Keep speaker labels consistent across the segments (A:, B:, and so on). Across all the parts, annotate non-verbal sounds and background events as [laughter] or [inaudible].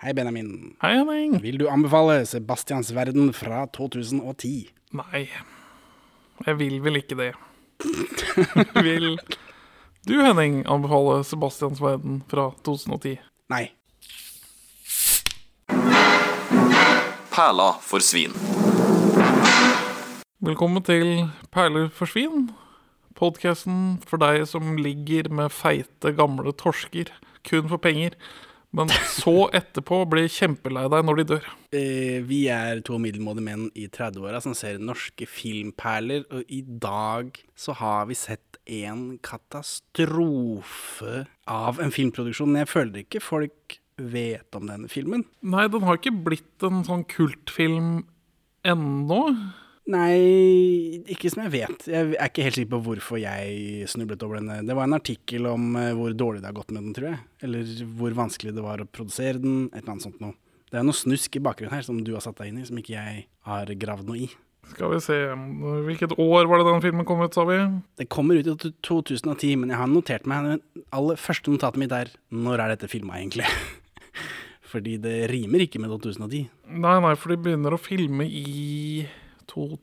A: Hei, Benjamin.
B: Hei, Henning.
A: Vil du anbefale Sebastians verden fra 2010?
B: Nei, jeg vil vel ikke [laughs] det. vil du, Henning, anbefale Sebastians verden fra 2010?
A: Nei.
C: Perla for svin.
B: Velkommen til Perler for svin, podkasten for deg som ligger med feite, gamle torsker kun for penger, men [laughs] så etterpå blir kjempelei deg når de dør.
A: Eh, vi er to middelmådige menn i 30-åra som ser norske filmperler, og i dag så har vi sett en katastrofe av en filmproduksjon. Jeg føler ikke folk vet om denne filmen.
B: Nei, den har ikke blitt en sånn kultfilm ennå.
A: Nei, ikke som jeg vet. Jeg er ikke helt sikker på hvorfor jeg snublet over denne. Det var en artikkel om eh, hvor dårlig det har gått med den, tror jeg. Eller hvor vanskelig det var å produsere den, et eller annet sånt noe. Det er noe snusk i bakgrunnen her som du har satt deg inn i, som ikke jeg har gravd noe i.
B: Skal vi se Hvilket år var det den filmen kom ut, sa vi?
A: Det kommer ut i to- 2010, men jeg har notert meg men aller første notatet mitt er Når er dette filma, egentlig? [laughs] Fordi det rimer ikke med 2010.
B: Nei, nei, for de begynner å filme i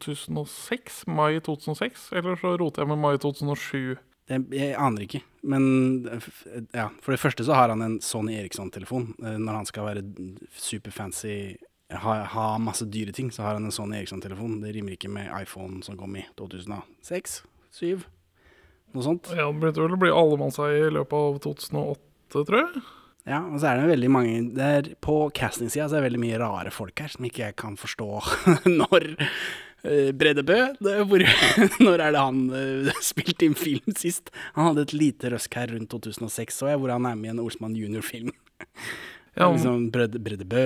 B: 2006, mai 2006. Eller så roter jeg med mai 2007.
A: Det, jeg aner ikke. Men f- ja, for det første så har han en Sony Eriksson-telefon. Eh, Når han skal være superfancy, ha, ha masse dyre ting, så har han en Sony Eriksson-telefon. Det rimer ikke med iPhone som kom i 2006? 7? Noe sånt.
B: Ja, Den begynte vel å bli allemannseie i løpet av 2008, tror jeg.
A: Ja, og så er det veldig mange der På castingsida så er det veldig mye rare folk her som ikke jeg kan forstå [laughs] når eh, Brede Bø det, hvor, [laughs] Når er det han eh, [laughs] spilte inn film sist? Han hadde et lite røsk her rundt 2006, så jeg, hvor han er med i en Olsmann junior-film.
B: Ja,
A: Liksom Brede, Brede Bø,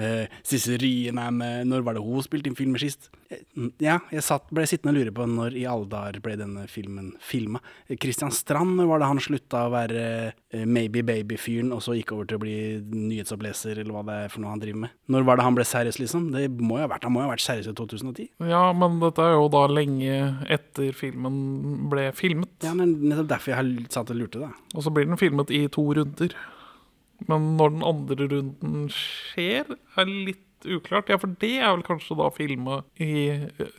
A: eh, Sissel Ryen er med Når var det hun spilte inn filmer sist? Eh, Ja, jeg satt, ble sittende og lure på når i alle dager ble denne filmen filma. Christian Strand, når var det han slutta å være eh, Maybe Baby-fyren, og så gikk over til å bli nyhetsoppleser, eller hva det er for noe han driver med? Når var det han ble seriøs, liksom? Det må jo ha vært, Han må jo ha vært seriøs i 2010?
B: ja, men dette er jo da lenge etter filmen ble filmet.
A: Ja, men nettopp derfor jeg har l- satt og lurte, da.
B: Og så blir den filmet i to runder. Men når den andre runden skjer, er litt uklart. Ja, for det er vel kanskje da filma i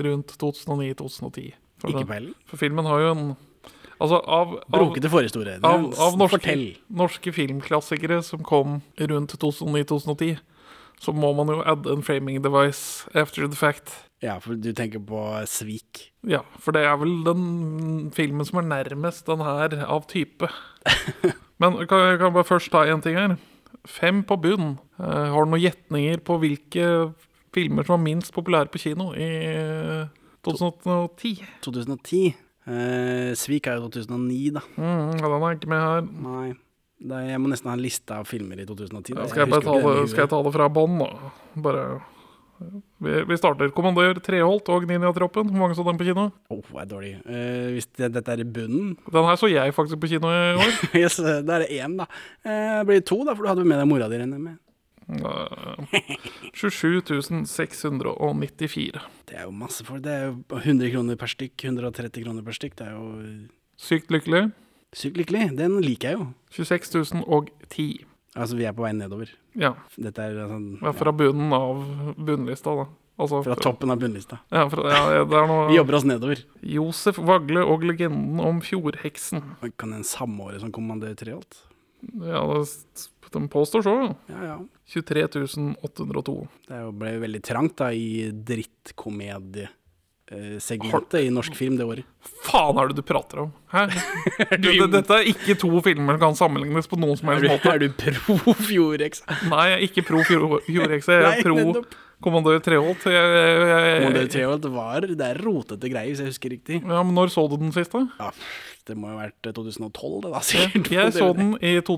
B: rundt 2009-2010.
A: Ikke peiling.
B: For filmen har jo en Altså, av, av,
A: Brokete forhistorie. Det-
B: av, av norske,
A: Fortell.
B: norske filmklassikere som kom rundt 2009-2010, så må man jo add en framing device after the fact.
A: Ja, for du tenker på svik.
B: Ja, for det er vel den filmen som er nærmest den her av type. Men kan jeg kan bare først ta én ting her. Fem på bunn. Eh, Har du noen gjetninger på hvilke filmer som var minst populære på kino i eh, 2010?
A: 2010. Eh, Svik er jo 2009, da.
B: Mm, ja, den er ikke med her.
A: Nei. Da, jeg må nesten ha en liste av filmer i 2010. da.
B: Ja, skal, jeg bare
A: husker
B: ta
A: ikke den
B: det,
A: i
B: skal jeg
A: huet.
B: ta det fra bånn, da? Bare vi, vi starter. Kommandør Treholt og Ninjatroppen. Hvor mange så den på kino?
A: Åh, det er dårlig. Eh, hvis det, dette er i bunnen [laughs]
B: Den her så jeg faktisk på kino i år.
A: yes, Da er det én, da. Eh, det blir to, da, for du hadde jo med deg mora di, regner jeg med. [laughs]
B: Eh, 27 694.
A: Det er jo masse folk. Det er jo 100 kroner per stykk. 130 kroner per stykk. Det er jo
B: Sykt lykkelig.
A: sykt lykkelig. Den liker jeg jo.
B: 26 010.
A: Altså, vi er på vei nedover.
B: Ja.
A: Dette er sånn
B: ja, fra bunnen av bunnlista, da. Altså,
A: fra toppen av bunnlista.
B: Ja, fra, ja, det er
A: Vi
B: noe
A: jobber oss nedover.
B: Josef Vagle og legenden om fjordheksen.
A: Men Kan en samordne som kommandør Treholt?
B: Ja, det, de påstår så.
A: Ja ja.
B: 23 802.
A: Det er jo- ble jo veldig trangt da i drittkomediesegmentet i norsk film det året.
B: faen er det du prater om? Hæ? Du, det, dette er ikke to filmer som kan sammenlignes på noen som
A: Er du,
B: helst måte.
A: er du pro
B: [laughs]
A: Fjordex?
B: Nei, jeg er ikke pro Fjord- Fjordhekse. Jeg
A: Nei,
B: er pro
A: nettopp.
B: Kommandør Treholt. Jeg, jeg, jeg,
A: Modell 3 det var det er rotete greier, hvis jeg husker riktig.
B: ja, men når så du den siste?
A: Ja, det må jo ha vært 2012, det da,
B: Jeg,
A: sikkert.
B: jeg så den i
A: I går.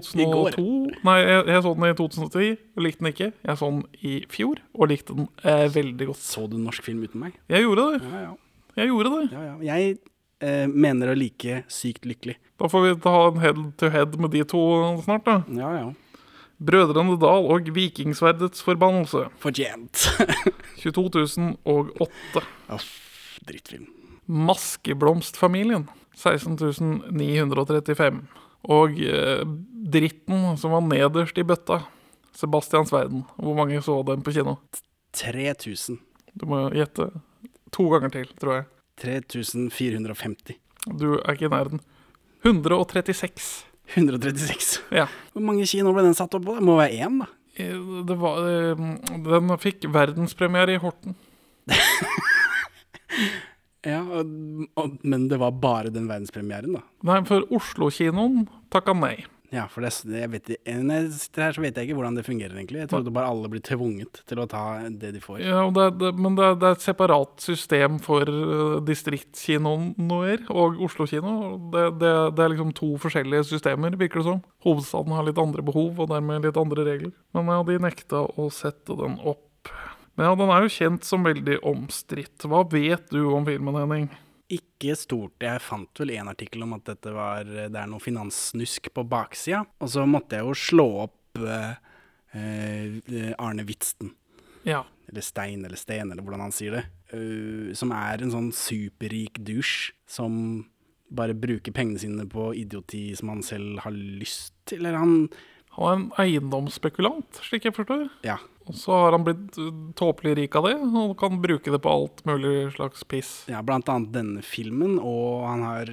B: 2002. Nei, jeg, jeg så den i 2010 og likte den ikke. Jeg så den i fjor og likte den eh, veldig godt.
A: Så du norsk film uten meg?
B: Jeg gjorde det.
A: Ja ja.
B: Jeg gjorde det.
A: ja, ja. Jeg eh, mener å like Sykt lykkelig.
B: Da får vi ta en head to head med de to snart, da.
A: Ja ja.
B: Brødrene Dal og Vikingsverdets forbannelse.
A: Fortjent. [laughs]
B: 22008.
A: Uff, drittfilm.
B: Maskeblomstfamilien. 16.935. Og eh, dritten som var nederst i bøtta. Sebastians verden. Hvor mange så den på kino?
A: 3000.
B: Du må gjette to ganger til, tror jeg.
A: 3450.
B: Du er ikke i nærheten. 136.
A: 136.
B: Ja.
A: Hvor mange kinoer ble den satt opp på? Det må være én, da.
B: Eh, Det var, eh, den fikk verdenspremiere i Horten.
A: Ja, og, og, Men det var bare den verdenspremieren, da.
B: Nei, for Oslo-kinoen takka nei.
A: Ja, for det, er s- jeg vet, i- Når jeg sitter her, så vet jeg ikke hvordan det fungerer, egentlig. Jeg trodde bare alle blir tvunget til å ta det de får.
B: Ja, og det, er- det, men det, er- det er et separat system for eh, distriktskinoer og Oslo-kino. og Det, det, det er liksom to forskjellige systemer, virker det som. Hovedstaden har litt andre behov, og dermed litt andre regler. Men ja, de nekta å sette den opp. Men ja, den er jo kjent som veldig omstridt. Hva vet du om filmen, Henning?
A: Ikke stort. Jeg fant vel en artikkel om at dette var, det er noe finanssnusk på baksida. Og så måtte jeg jo slå opp eh, eh, Arne Witzen,
B: Ja.
A: eller Stein eller Sten, eller hvordan han sier det. eh, som er en sånn superrik dusj som bare bruker pengene sine på idioti som han selv har lyst til. Eller han
B: Han er en eiendomsspekulant, slik jeg forstår.
A: Ja.
B: Og så har han blitt eh, tåpelig rik av det, og kan bruke det på alt mulig slags piss.
A: Ja, blant annet denne filmen, og han har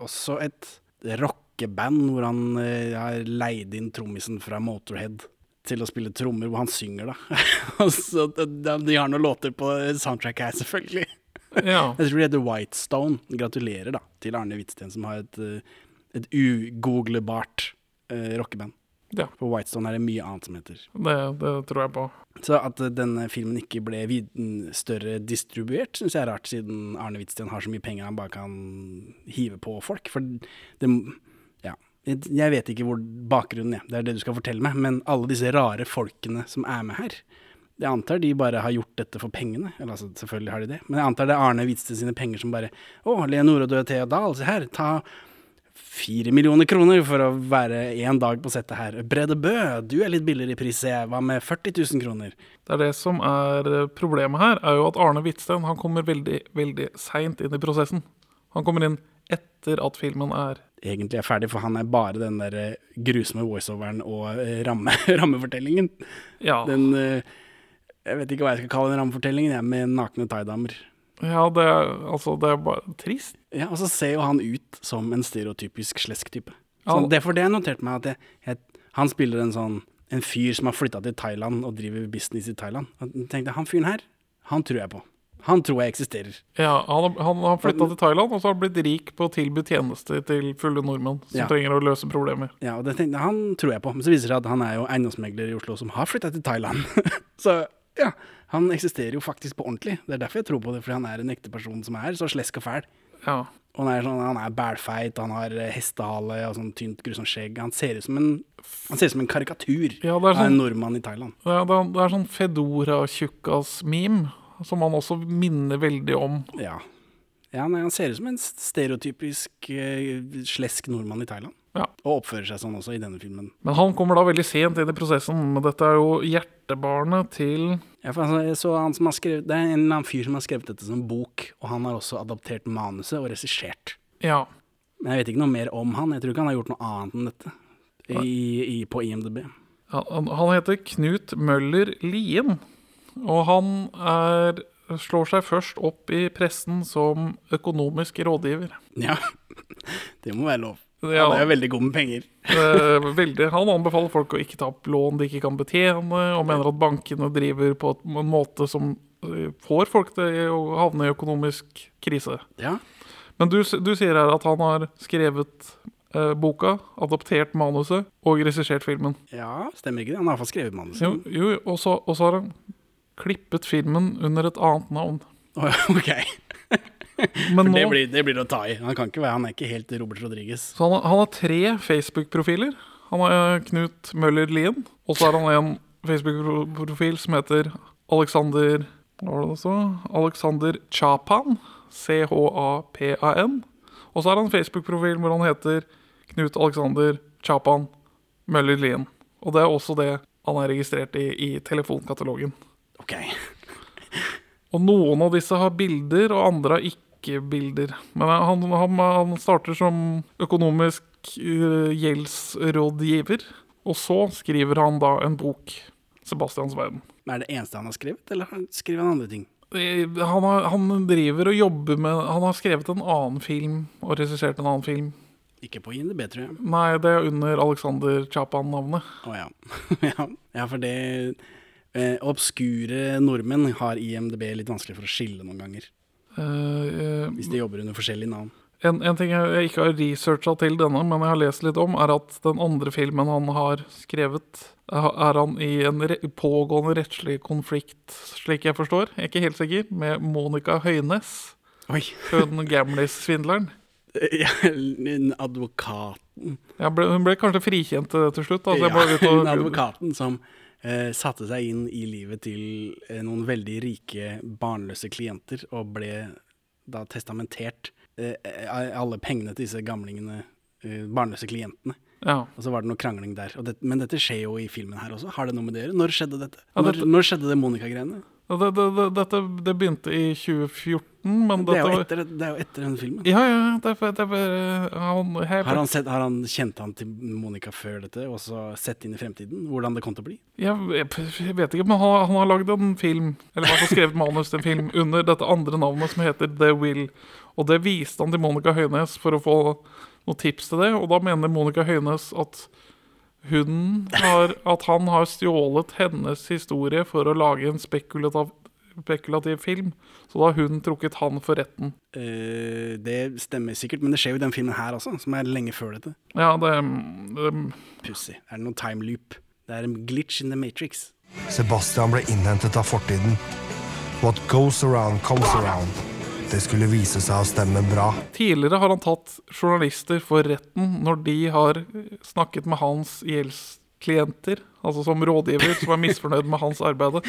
A: også et rockeband hvor han eh, har leid inn trommisen fra Motorhead til å spille trommer, hvor han synger, da. [laughs] Og så de, de har noen låter på soundtracket her, selvfølgelig.
B: Ja.
A: Jeg tror det heter Whitestone. Gratulerer, da, til Arne Hvitsten, som har et, eh, et ugooglebart eh, rockeband.
B: Ja.
A: For Whitestone er det mye annet som heter.
B: [laughs] Det, det tror jeg på.
A: Så at eh, denne filmen ikke ble viden større distribuert, syns jeg er rart, siden Arne Hvitsten har så mye penger han bare kan hive på folk. For det Ja. Jeg jeg vet ikke hvor bakgrunnen er, det er det du skal fortelle meg, men alle disse rare folkene som er med her, jeg antar de bare har gjort dette for pengene. Eller altså, selvfølgelig har de det, men jeg antar det er Arne Hvitsten sine penger som bare Å, Leonore og Dorothea Dahl, se her, ta fire millioner kroner for å være én dag på settet her. Brede Bø, du er litt billigere i pris, jeg. Hva med 40 000 kroner?
B: Det er det som er eh, problemet her, er jo at Arne Hvitsten han kommer veldig, veldig seint inn i prosessen. Han kommer inn etter at filmen er
A: Egentlig er ferdig, for han er bare den der eh, grusomme voiceoveren og eh, ramme, [laughs] rammefortellingen.
B: Ja,
A: Den eh, Jeg vet ikke hva jeg skal kalle den rammefortellingen, jeg, med nakne thaidamer.
B: ja det, er, altså, det er bare trist.
A: Ja, og så ser jo han ut som en stereotypisk slesk-type.
B: Ja.
A: Så Derfor det har jeg notert meg, at jeg, jeg, han spiller en sånn en fyr som har flytta til Thailand og driver business i Thailand. Og jeg tenkte han fyren her, han tror jeg på. Han tror jeg eksisterer.
B: Ja, Han, har- han har flytta til Thailand og så har han blitt rik på å tilby tjenester til fulle nordmenn som
A: Ja.
B: trenger å løse problemer.
A: Ja, og det tenkte, jeg, Han tror jeg på, men så viser det seg at han er jo eiendomsmegler i Oslo som har flytta til Thailand. [laughs] så ja, han eksisterer jo faktisk på ordentlig. Det er derfor jeg tror på det, fordi han er en ekte person som er så slesk og fæl.
B: Ja,
A: Og han er, sånn, han er bælfeit, han har eh, hestehale og sånn tynt, grusomt skjegg. Han ser ut som en, han ser ut som en karikatur
B: ja det er
A: av
B: sånn
A: en nordmann i Thailand.
B: Det er, det er- det er sånn Fedora-tjukkas-meme, som han også minner veldig om.
A: Ja. ja nei, han ser ut som en stereotypisk eh, slesk nordmann i Thailand.
B: Ja.
A: Og oppfører seg sånn også i denne filmen.
B: Men han kommer da veldig sent inn i prosessen. Men dette er jo hjertebarnet til
A: Ja, for altså, jeg så han som har skrevet, det er en eller annen fyr som har skrevet dette som bok, og han har også adaptert manuset og regissert.
B: Ja.
A: Men jeg vet ikke noe mer om han. Jeg tror ikke han har gjort noe annet enn dette i, i, på IMDb.
B: Han, han heter Knut Møller Lien, og han er, slår seg først opp i pressen som økonomisk rådgiver.
A: Ja, [laughs] det må være lov.
B: Ja.
A: Han er jo veldig god med penger.
B: Eh, veldig. Han anbefaler folk å ikke ta opp lån de ikke kan betjene, og mener at bankene driver på et- en måte som eh, får folk til å havne i økonomisk krise.
A: Ja,
B: Men du, s- du sier her at han har skrevet eh, boka, adoptert manuset og regissert filmen.
A: ja stemmer ikke det? Han har iallfall skrevet manuset.
B: Jo, jo og så og så har han klippet filmen under et annet navn.
A: Å, [laughs] ok,
B: Men
A: for det
B: nå,
A: blir, det blir det å ta i. Han kan ikke være, han er ikke helt Robert Rodriguez.
B: så han, har- han har tre Facebook-profiler. Han har eh, Knut Møller Lien, og så har han en Facebook-profil som heter Alexander Hva var det det stod? Alexander Chapan. C-h-a-p-a-n. Og så har han en Facebook-profil hvor han heter Knut Alexander Chapan Møller Lien. Og det er også det han er registrert i i telefonkatalogen.
A: Ok,
B: Og noen av disse har bilder, og andre har ikke bilder. Men han, han, han starter som økonomisk eh, gjeldsrådgiver, Og så skriver han da en bok, 'Sebastians verden'.
A: Er det eneste han har skrevet, eller har- skriver han andre ting?
B: Eh, Han, har, han driver og jobber med Han har skrevet en annen film og regissert en annen film.
A: Ikke på INDB, tror jeg.
B: Nei, det er under Alexander Chapan-navnet.
A: Å ja. [laughs] ja. Ja, for det eh, Obskure nordmenn har IMDb litt vanskelig for å skille noen ganger.
B: Eh, eh,
A: Hvis de jobber under forskjellige navn.
B: En, en ting jeg jeg ikke har researcha til denne, men jeg har lest litt om, er at den andre filmen han har skrevet, er er han i en re pågående rettslig konflikt, slik jeg forstår, jeg er ikke helt sikker, med Monica Høines,
A: Oi! [laughs]
B: hun gamlis-svindleren.
A: Eh, Ja, [laughs] en advokat
B: Jeg ble, hun ble kanskje frikjent eh, til slutt. Altså, jeg
A: ja,
B: bare ut og,
A: en advokaten som eh, satte seg inn i livet til eh, noen veldig rike, barnløse klienter, og ble da testamentert eh, eh, alle pengene til disse gamlingene, eh, barnløse klientene.
B: ja.
A: Og så var det noe krangling der. Og det, men dette skjer jo i filmen her også. Har det noe med dere? Når skjedde dette?
B: Ja,
A: Når,
B: dette-
A: når skjedde det Monica-greiene?
B: Og det, det, det, dette, det begynte i 2014, men
A: Det, er
B: dette
A: jo
B: var
A: etter- det er jo etter den filmen.
B: Ja, ja. Det, er- det, er bare- han, jeg-
A: Har han, sett, har han kjent han til Monica før dette, og så sett inn i fremtiden? Hvordan det kom til å bli?
B: Jeg, jeg, jeg vet ikke, men han, han har lagd en film, eller i hvert fall skrevet manus til en film, under dette andre navnet som heter The Will. Og det viste han til Monica Høines for å få noen tips til det. Og da mener Monica Høines at, hun har, at han har stjålet hennes historie for å lage en spekulativ, spekulativ film. Så da har hun trukket han for retten.
A: Eh, det stemmer sikkert, men det skjer jo i den filmen her også, som er lenge før dette.
B: Ja, det, det
A: Pussig. Er det noen time loop? Det er en glitch in the matrix.
C: Sebastian ble innhentet av fortiden. What goes around comes around. Det skulle vise seg å stemme bra.
B: Tidligere har han tatt journalister for retten når de har snakket med hans gjeldsklienter, altså som rådgiver som er misfornøyd med hans arbeid.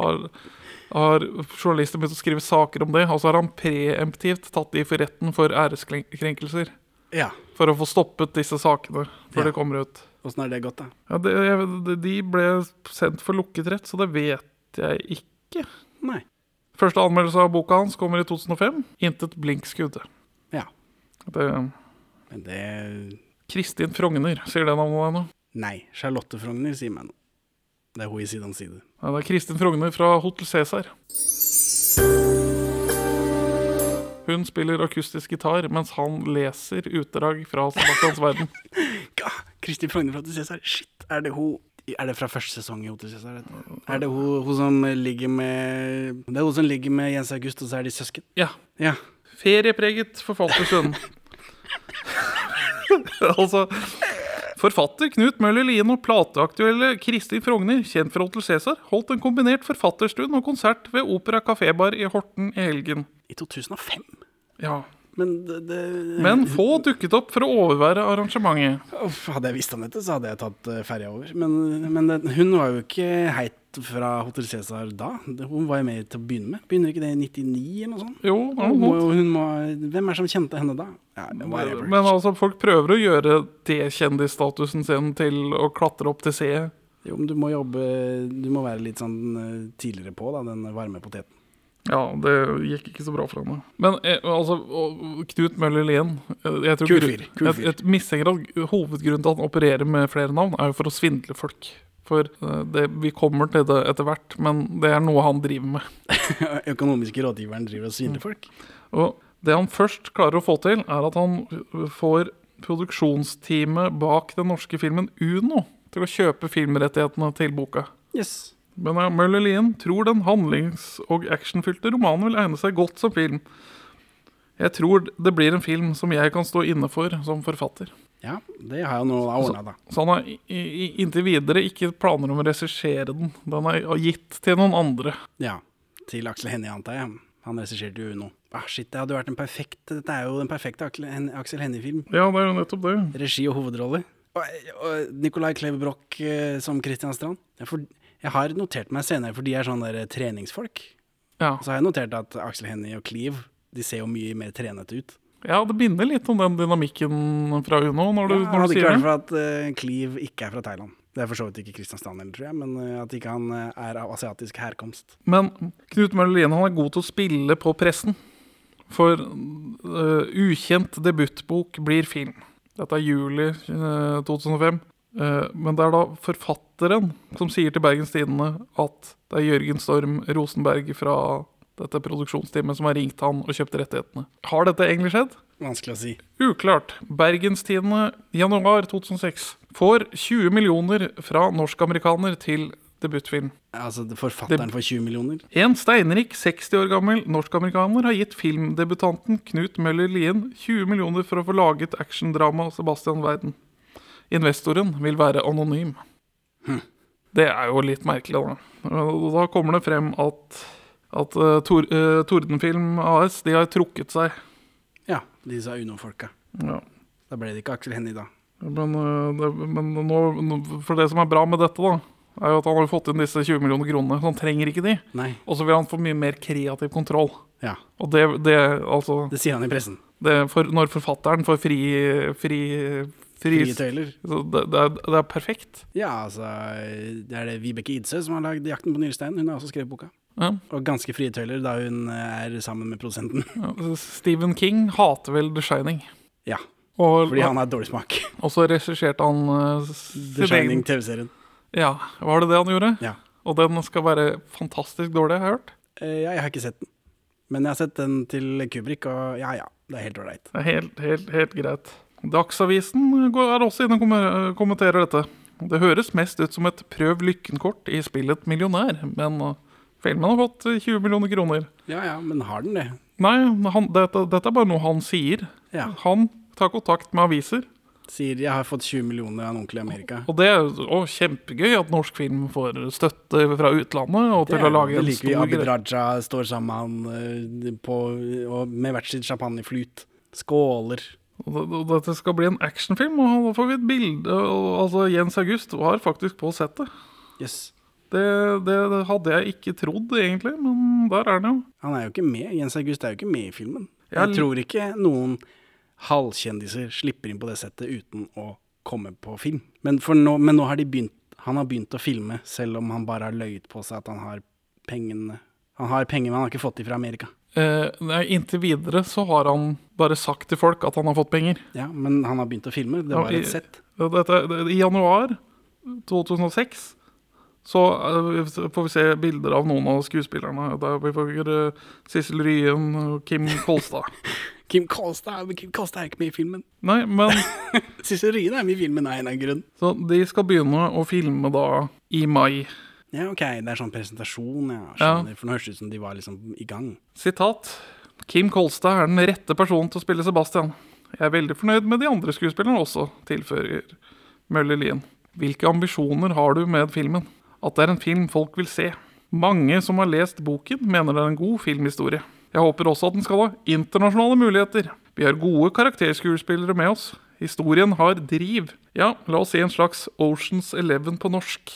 B: Har, har journalister begynt å skrive saker om det, og så har han preemptivt tatt de for retten for æreskrenkelser.
A: Ja.
B: For å få stoppet disse sakene før
A: Ja.
B: det kommer ut.
A: Åssen har det gått, da?
B: Ja, det, jeg- de ble sendt for lukket rett, så det vet jeg ikke.
A: Nei.
B: Første anmeldelse av boka hans kommer i 2005. Intet blinkskudd.
A: Ja.
B: Det
A: Men det
B: Kristin Frogner, sier det navnet deg nå?
A: Nei. Charlotte Frogner sier meg noe. Det er hun i Side om side.
B: Ja, det er Kristin Frogner fra Hotel Cæsar. Hun spiller akustisk gitar mens han leser utdrag fra Sebastians verden.
A: Ga! Kristin Frogner fra Hotel Cæsar. Shit! Er det hun Er det fra første sesong i Hotel Cæsar? dette? Er det hun, hun som ligger med Det er hun som ligger med Jens August, og så er de søsken?
B: [laughs] Ja.
A: Ja.
B: Feriepreget forfattersønn. [laughs] altså Forfatter Knut Møller Lien og plateaktuelle Kristin Frogner, kjent fra Hotel Cæsar, holdt en kombinert forfatterstund og konsert ved Opera Kafébar i Horten i helgen.
A: I 2005?
B: Ja.
A: Men det, det
B: Men få dukket opp for å overvære arrangementet.
A: Uff, hadde jeg visst om dette, så hadde jeg tatt eh, ferja over. Men, men den- hun var jo ikke heit fra Hotel Cæsar da. Hun var jo med til å begynne med. Begynner ikke det i 99 eller noe sånt?
B: Jo,
A: Hun må,
B: noe sånt.
A: hun må, hvem er det som kjente henne da? Ja, whatever.
B: Men altså, folk prøver å gjøre det kjendisstatusen sin til å klatre opp til C.
A: Jo, men du må jobbe Du må være litt sånn eh, tidligere på, da, den varme poteten.
B: Ja, det gikk ikke så bra for henne. Men eh, altså, og Knut Møller Lien eh, jeg tror
A: Kul
B: grunn-
A: fyr, kul
B: et-
A: fyr.
B: Et mistenker at hovedgrunnen til at han opererer med flere navn, er jo for å svindle folk. For eh, det, vi kommer til det etter hvert, men det er noe han driver med.
A: [laughs] Økonomiske rådgiveren driver og
B: Mm.
A: svindler folk.
B: Og det han først klarer å få til, er at han får produksjonsteamet bak den norske filmen Uno til å kjøpe filmrettighetene til boka.
A: Yes.
B: Men ja, Møller Lien tror den handlings- og actionfylte romanen vil egne seg godt som film. Jeg tror det blir en film som jeg kan stå inne for som forfatter.
A: Ja, det har jeg nå ordna, da.
B: Så han har i- i- inntil videre ikke planer om å regissere den. Den er gitt til noen andre.
A: Ja. Til Aksel Hennie, antar jeg. Han regisserte jo Uno. Ah, shit, det hadde vært en perfekt Dette er jo den perfekte Aksel Hen- Aksel Hennie-film.
B: Ja, det er jo nettopp det.
A: Regi og hovedrolle. Og, og Nicolai Kleve Broch eh, som Christian Strand. Jeg, får- jeg har notert meg senere, for de er sånne der treningsfolk.
B: Ja,
A: Så har jeg notert at Aksel Hennie og Cleve de ser jo mye mer trenete ut.
B: ja det minner litt om den dynamikken fra Uno. når du,
A: Ja,
B: når
A: hadde
B: du
A: ikke
B: sier
A: vært
B: det.
A: for at eh, Cleve ikke er fra Thailand. Det er for så vidt ikke Christian Strand heller, tror jeg, men eh, at ikke han eh, er av asiatisk herkomst.
B: Men Knut Møller Lien han er god til å spille på pressen. For eh, øh, ukjent debutbok blir film. Dette er juli øh, 2005. Eh, Men det er da forfatteren som sier til Bergens Tidende at det er Jørgen Storm Rosenberg fra dette produksjonsteamet som har ringt han og kjøpt rettighetene. Har dette egentlig skjedd?
A: Vanskelig å si.
B: Uklart. Bergens Tidende januar 2006 får 20 millioner fra norsk-amerikaner til debutfilm.
A: Altså, det- forfatteren
B: Det-
A: for 20 millioner?
B: En steinrik 60 år gammel norsk-amerikaner har gitt filmdebutanten Knut Møller Lien 20 millioner for å få laget actiondrama Sebastian Verden. Investoren vil være anonym. Det er jo litt merkelig, da. Og Da kommer det frem at, at eh, Tor, eh, Tordenfilm AS de har trukket seg.
A: Ja, disse UNO-folka.
B: Ja.
A: Da ble det ikke Aksel Hennie, da.
B: Men, øh, det, men nå, nå- for det som er bra med dette, da, er jo at han har fått inn disse 20 millioner kronene. Så han trenger ikke de.
A: Nei.
B: Og så vil han få mye mer kreativ kontroll.
A: Ja,
B: Og det, det altså
A: det sier han i pressen.
B: det, for, Når forfatteren får fri, fri, fri,
A: Frie tøyler.
B: så det, det, er, det er perfekt.
A: Ja, altså, det er det Vibeke Idsøe som har lagd 'Jakten på nyresteinen'. Hun har også skrevet boka.
B: Ja.
A: Og ganske frie tøyler da hun eh, er sammen med produsenten. [laughs]
B: Ja, Stephen King hater vel The Shining.
A: Ja,
B: Og,
A: fordi han har dårlig
B: [laughs]
A: smak.
B: og så regisserte han øh, sin
A: The Shining,
B: egen
A: TV-serien.
B: Ja, var det det han gjorde?
A: Ja.
B: Og den skal være fantastisk dårlig, har jeg hørt.
A: Eh, ja, jeg har ikke sett den. Men jeg har sett den til Kubrick, og ja ja, det er helt ålreit.
B: Det er helt, helt, helt greit. Dagsavisen går- er også inne og kommer- kommenterer dette. Det høres mest ut som et prøv lykken-kort i spillet Millionær, men uh, filmen har fått uh, 20 millioner kroner.
A: Ja ja, men har den det?
B: Nei, han, dette, dette er bare noe han sier.
A: Ja.
B: Han tar kontakt med aviser,
A: Sier 'jeg har fått 20 millioner av en onkel i Amerika'.
B: og det er jo å, kjempegøy at norsk film får støtte fra utlandet og
A: Det
B: til
A: er
B: å lage
A: det
B: en
A: liker vi.
B: stor
A: Abid
B: greie.
A: Raja står sammen med han eh, på, og med hvert sitt champagneflut. Skåler.
B: Og det- og Dette skal bli en actionfilm, og da får vi et bilde. og- Altså, Jens August var faktisk på settet.
A: Jøss. Yes.
B: Det, det, det hadde jeg ikke trodd, egentlig, men der er den jo.
A: Han er jo ikke med. Jens August er jo ikke med i filmen.
B: Ja,
A: Jeg tror ikke noen halvkjendiser slipper inn på det settet uten å komme på film. Men, for nå, men nå har de begynt Han har begynt å filme, selv om han bare har løyet på seg at han har pengene. Han har penger, men han har ikke fått de fra Amerika.
B: Eh, nei, inntil videre så har han bare sagt til folk at han har fått penger.
A: Ja, Men han har begynt å filme. Det var
B: Ja, i-
A: et sett.
B: Og Dette, det, I januar 2006 så eh, får vi se bilder av noen av skuespillerne. Der vi får eh, Sissel Ryen og Kim [laughs] Kolstad.
A: Kim Kolstad Kim Kolstad er ikke med i filmen.
B: nei, men
A: Sissel Ryen er med i filmen av en eller annen grunn.
B: Så de skal begynne å filme da i mai.
A: Ja, ok, det er sånn presentasjon, ja. Skjønner. For nå høres det ut som de var liksom i gang.
B: Sitat Kim Kolstad er den rette personen til å spille Sebastian. Jeg er veldig fornøyd med de andre skuespillerne også, tilføyer Møller Lien. Hvilke ambisjoner har du med filmen? At det er en film folk vil se. Mange som har lest boken, mener det er en god filmhistorie. Jeg håper også at den skal ha internasjonale muligheter. Vi har gode karakterskuespillere med oss. Historien har driv. Ja, la oss si en slags Oceans Eleven på norsk.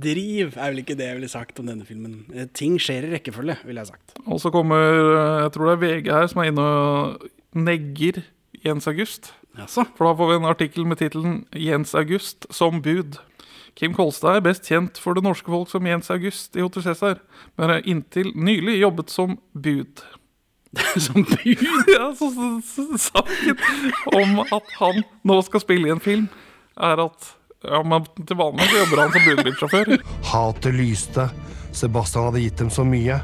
A: Driv er vel ikke det jeg ville sagt om denne filmen. Eh, Ting skjer i rekkefølge, ville jeg sagt.
B: Og så kommer eh, Jeg tror det er VG her som er inne og negger Jens August.
A: Jaså? [laughs]
B: For da får vi en artikkel med tittelen 'Jens August som bud'. Kim Kolstad er best kjent for det norske folk som Jens August i Hotel Cæsar, men har inntil nylig jobbet som bud. [laughs]
A: Som bud?
B: Ja, så, så, så Saken om at han nå skal spille i en film, er at ja, men til vanlig så jobber han som budbilsjåfør.
C: Hatet lyste. Sebastian hadde gitt dem så mye.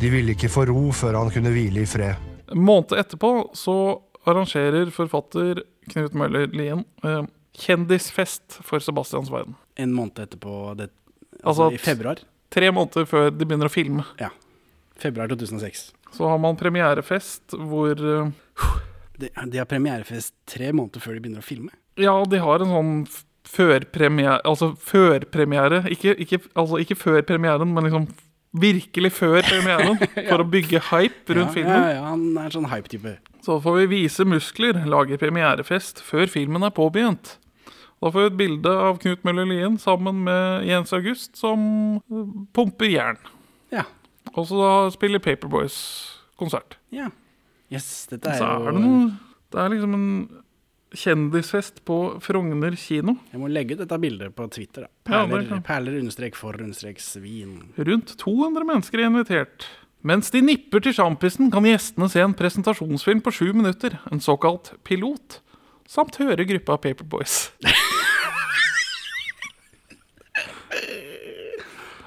C: De ville ikke få ro før han kunne hvile i fred.
B: En måned etterpå så arrangerer forfatter Knut Møller Lien eh, kjendisfest for Sebastians verden.
A: En måned etterpå det, altså,
B: Altså
A: I februar.
B: Tre måneder før de begynner å filme.
A: Ja. Februar 2006.
B: Så har man premierefest hvor eh,
A: De, de har premierefest tre måneder før de begynner å filme.
B: Ja, de har en sånn f- førpremiere Altså førpremiere. Ikke, ikke, altså, ikke før premieren, men liksom virkelig før premieren. For å bygge hype rundt
A: ja,
B: filmen.
A: Ja, ja, han er en sånn hype-type.
B: Så får vi vise muskler, lage premierefest før filmen er påbegynt. Da får vi et bilde av Knut Møller Lien sammen med Jens August, som eh, pumper jern.
A: Ja.
B: Og så da spiller Paperboys konsert.
A: ja. Yes, dette er
B: Så er det
A: jo
B: noe Det er liksom en kjendisfest på Frogner kino.
A: Jeg må legge ut dette bildet på Twitter. da.
B: Ja, det
A: Perler,
B: kan-
A: perler understrek for understrek svin.
B: Rundt 200 mennesker er invitert. Mens de nipper til sjampisen, kan gjestene se en presentasjonsfilm på sju minutter, en såkalt pilot, samt høre gruppa Paperboys.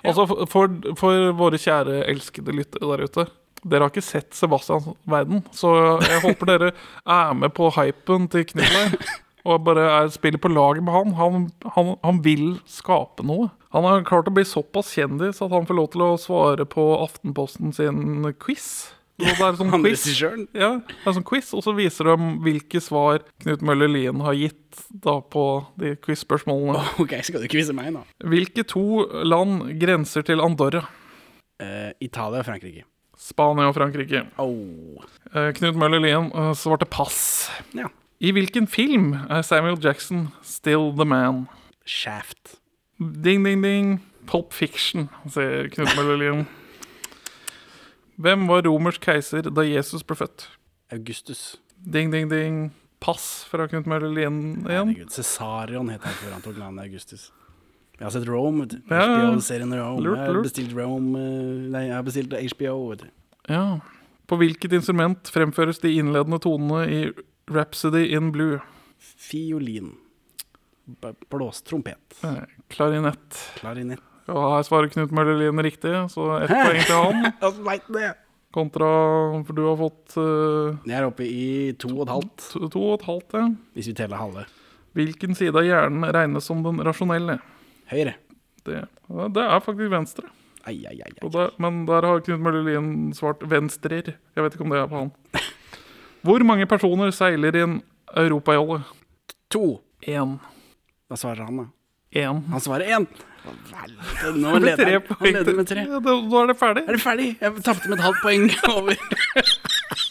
B: altså, for- for, for våre kjære elskede lyttere der ute. Dere har ikke sett Sebastians verden, så jeg håper dere er med på hypen til Knivlei. Og bare er, spiller på lag med han. han. Han Han vil skape noe. Han har klart å bli såpass kjendis at han får lov til å svare på Aftenposten sin quiz. Og det er sånn
A: Han
B: quiz
A: regissøren. [laughs]
B: ja, det er en sånn quiz, og så viser de hvilke svar Knut Møller Lien har gitt da på de quiz-spørsmålene.
A: OK, skal du quize meg nå?
B: Hvilke to land grenser til Andorra?
A: Eh, Italia og Frankrike.
B: Spania og Frankrike.
A: Au.
B: Eh, Knut Møller Lien eh, svarte pass.
A: Ja.
B: I hvilken film er Samuel Jackson still the man?
A: Shaft.
B: Ding, ding, ding. Pulp fiction, sier Knut Møller Lien. Hvem var romersk keiser da Jesus ble født?
A: Augustus.
B: Ding, ding, ding. Pass fra Knut Møller Lien igjen.
A: Herregud, Cesarion het han før han tok navnet Augustus. Jeg har sett Rome. vet du.
B: Ja, ja, ja.
A: HBO-serien Rome.
B: Lurt,
A: Jeg har
B: lurt.
A: bestilt Rome eh, Nei, jeg har bestilt HBO. Vet du.
B: Ja. På hvilket instrument fremføres de innledende tonene i Rhapsody in Blue?
A: Fiolin. B- Blåstrompet.
B: Eh, Klarinett.
A: Klarinett.
B: Og her svarer Knut Møller Lien riktig, så ett poeng til han.
A: Jeg veit det!
B: Kontra For du har fått eh,
A: Jeg er oppe i to og et halvt,
B: to, to og et halvt, ja.
A: hvis vi teller halve.
B: Hvilken side av hjernen regnes som den rasjonelle?
A: Høyre.
B: Det, det er faktisk venstre.
A: Ai, ai, ai. ai.
B: Og der, men der har Knut Møller Lien svart venstrer. Jeg vet ikke om det er på han. Hvor mange personer seiler i en europajolle?
A: To.
B: Én.
A: Hva svarer han, da?
B: Én.
A: Han svarer én. Å, vel, Nå
B: Med
A: leder
B: tre
A: han.
B: poeng.
A: Han leder med tre.
B: Ja, da, da er det ferdig.
A: Er det ferdig? Jeg tapte med et halvt poeng [laughs] over.